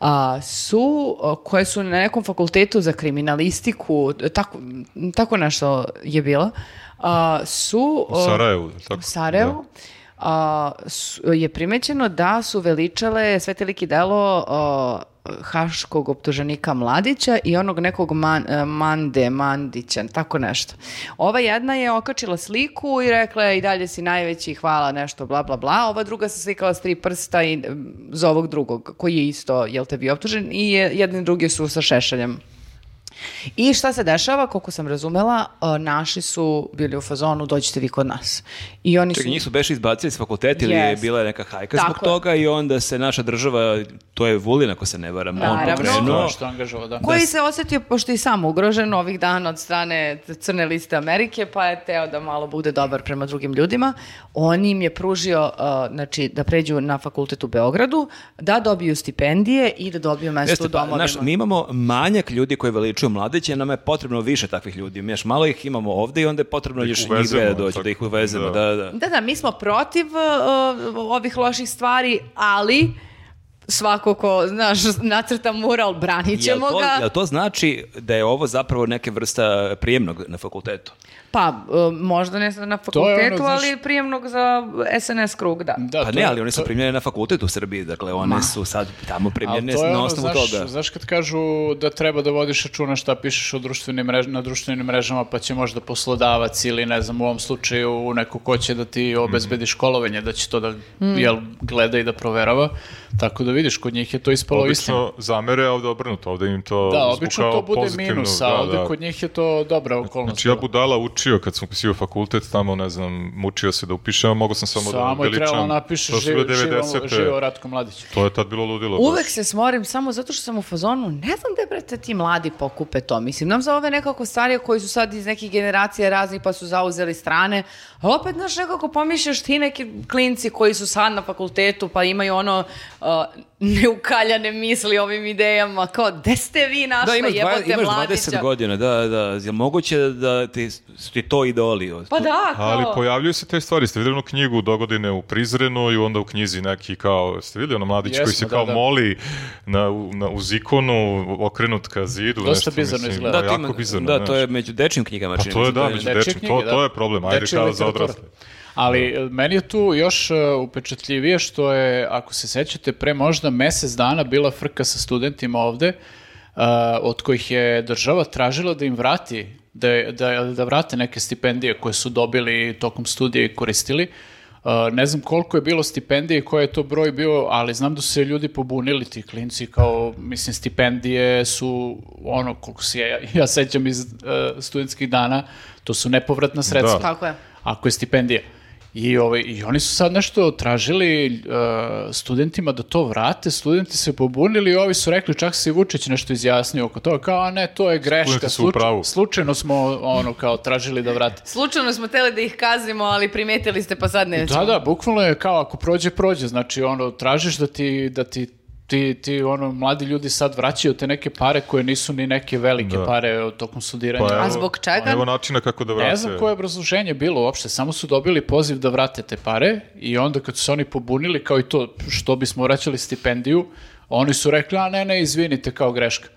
a, su, a, koje su na nekom fakultetu za kriminalistiku, e, tako, m, tako nešto je bilo, a, su... e, U a, Sarajevu, je li tako? u Sarajevu, a, su- je primećeno da su veličale sve te lik i delo a, haškog optuženika Mladića i onog nekog man- a, Mande Mandića, tako nešto. Ova jedna je okačila sliku i rekla je i dalje si najveći, hvala nešto, bla, bla, bla. Ova druga se slikala s tri prsta i, mm, za ovog drugog, koji je isto, jel te bio optužen, i je- jedni i drugi su sa šešeljem. I šta se dešava, koliko sam razumela, a, naši su bili u fazonu, dođite vi kod nas. I oni Čekaj, su... njih su beše izbacili iz fakulteta ili je Yes. bila neka hajka Tako zbog je. toga i onda se naša država, to je Vulin ako se ne varam, on Naravno. pokrenuo. Ono što je angažovao, da. Koji se osjetio, pošto je i sam ugrožen ovih dana od strane Crne liste Amerike, pa je teo da malo bude dobar prema drugim ljudima. On im je pružio, uh, znači, da pređu na fakultet u Beogradu, da dobiju stipendije i da dobiju mesto Jeste, u pa, domovima. znaš, mi imamo manjak ljudi koji veličuju mladiće, nama je potrebno više takvih ljudi. Znaš, malo ih imamo ovde i onda je potrebno Da ih još njih uvezemo, dve da dođu, tako, da ih uvezemo. da. Da, da. Da, da, mi smo protiv uh, ovih loših stvari, ali svako ko, znaš, nacrta mural, branit Jel ćemo to, ga. jel to znači da je ovo zapravo neke vrsta prijemnog na fakultetu? Pa, uh, možda ne na fakultetu, znaš- ali prijemnog za SNS krug, da. Da, pa to ne, je- ali oni su to- primljeni na fakultetu u Srbiji, dakle one su sad tamo Ali primljene to je na ono, osnovu znaš, toga. Znaš kad kažu da treba da vodiš računa šta pišeš u društvenim mrež, na društvenim mrežama, pa će možda poslodavac ili ne znam u ovom slučaju neko ko će da ti obezbedi Mhm. školovanje, da će to da jel, gleda i da proverava. Tako da vidiš, kod njih je to ispalo istina. Obično zamere, a ovde obrnuto, ovde im to Da, zvuka obično to kao bude pozitivno, minus, a da, ovde da. kod ono njih je to dobra okolnost. Znači ja budala učio kad sam upisio fakultet, tamo ne znam, mučio se da upišem, a mogao sam samo, Samo da je trebalo veličam. napišeš To su bile živo, živo, 90-te. živo Ratko Mladić. To je tad bilo Pa ludilo. Uvek baš. se smorim samo zato što sam u fazonu, ne znam da brate ti mladi pokupe to. Mislim, nam za ove nekako starije koji su sad iz nekih generacija raznih pa su zauzeli strane, a opet znaš nekako pomišljaš ti neki klinci koji su sad na fakultetu pa imaju ono uh, neukaljane misli o ovim idejama, kao gde ste vi našli Da, imaš, dva, jebote imaš mladića? 20 godina, da, da. Je moguće da ti, su ti to ideoli? Pa da, kao... Ali pojavljuju se te stvari. Ste vidjeli onu knjigu dogodine u Prizrenu i onda u knjizi neki kao, ste vidjeli ono mladić koji se Jesmo, da, kao da. moli na, u- na, uz ikonu okrenut ka zidu. Dosta nešto, bizarno mislim, izgleda. Da, to jako ima- bizarno. da, to znaš. je među dečim knjigama. Pa čini to mi je se, da, je- među Dečije dečim. To, knjige, da. to je problem. Ajde Dečija kao za literatura. odrasle. Ali e, meni je tu još e, upečatljivije što je, ako se sećate, pre možda mesec dana bila frka sa studentima ovde, e, od kojih je država tražila da im vrati, da, da, da vrate neke stipendije koje su dobili tokom studija i koristili. E, Uh, ne znam koliko je bilo stipendije i koji je to broj bio, ali znam da su se ljudi pobunili ti klinci kao, mislim, stipendije su ono, koliko se ja, ja sećam iz uh, studentskih dana, to su nepovratna sredstva. Tako je. Ako je stipendija. I, ovaj, I oni su sad nešto tražili uh, studentima da to vrate, studenti se pobunili i ovi su rekli, čak se i Vučić nešto izjasnio oko toga, kao a ne, to je greška, Studenti su u pravu. slučajno smo ono kao tražili da vrate. Slučajno smo teli da ih kaznimo, ali primetili ste pa sad nećemo. Da, da, bukvalno je kao ako prođe, prođe. Znači, ono, tražiš da ti, da ti, ti, ti, ono, mladi ljudi sad vraćaju te neke pare koje nisu ni neke velike Da. pare e, tokom studiranja. evo, A zbog čega? Pa Evo načina kako da vrate. Ne znam koje je obrazloženje bilo uopšte, samo su dobili poziv da vrate te pare i onda kad su se oni pobunili kao i to što bismo vraćali stipendiju, oni su rekli, a ne, ne, izvinite, kao greška.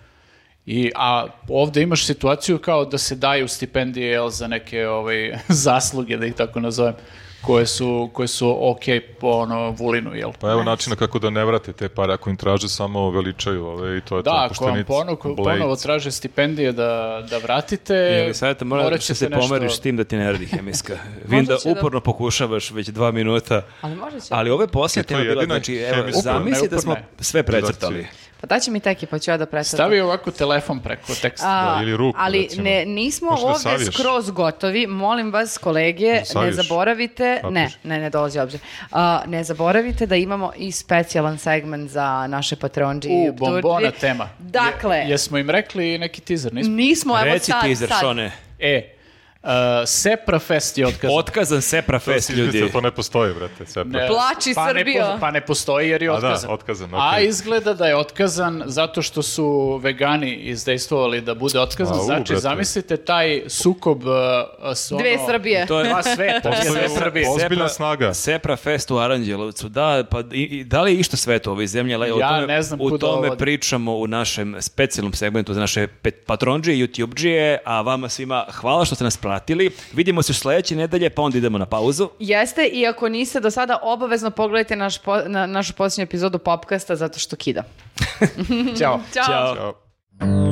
I, a ovde imaš situaciju kao da se daju stipendije jel, za neke ovaj, zasluge, da ih tako nazovem, koje su, koje su ok po ono, vulinu, jel? Pa evo načina kako da ne vrate te pare, ako im traže samo veličaju ove i to je to. Da, ako pošto vam niti ponovo, Blade. ponovo traže stipendije da, da vratite, Ili sad morat E, morat ćeš ćete se nešto- pomeriš s tim da ti ne radi hemijska. Vidim da će da- uporno pokušavaš već dva minuta. Ali možda će. Ali ove poslije E, To je tema bila, jedina znači, evo, hemijska. zamisli da smo Uporno je. sve precrtali. Pa daći mi teki, pa ću ja da presadam. Stavi ovako telefon preko teksta. A, Da, ili ruku, ali recimo. ne, nismo Možeš da ovdje saviješ. skroz gotovi. Molim vas, kolege, ne saviješ. zaboravite... Papir. Ne, ne, ne dolazi obzir. A, ne zaboravite da imamo i specijalan segment za naše patronđe i U, Pturđi. bombona tema. Dakle, Je- jesmo im rekli neki teaser, nismo? nismo, Pa evo Reci sad, teaser, sad. što ne? E, uh, Sepra Fest je otkazan. Otkazan Sepra To Fest, si izmislio, ljudi. To ne postoji, brate, sve Ne, Plači pa Srbijo. Ne, po- pa ne postoji jer je A da, otkazan. otkazan, A okej. izgleda da je otkazan zato što su vegani izdejstvovali da bude otkazan. Au, znači, brate. zamislite taj sukob uh, s ono... Dve Srbije. To je Dva sveta, Postoji dve u- Srbije. Ozbiljna Sepra- snaga. Sepra Fest u Aranđelovcu, da, pa i, i da li je išta sve to ove zemlje, ali o Ja tome, ne znam u kuda tome ovo ode. pričamo u našem specijalnom segmentu za naše pet- patronđe i YouTubeđije, a vama svima hvala što ste nas pratili. Vidimo se sledeće nedelje, pa onda idemo na pauzu. Jeste, i ako niste do sada, obavezno pogledajte naš po- na, našu posljednju epizodu Popkasta zato što kida. Ćao. Ćao. Ćao.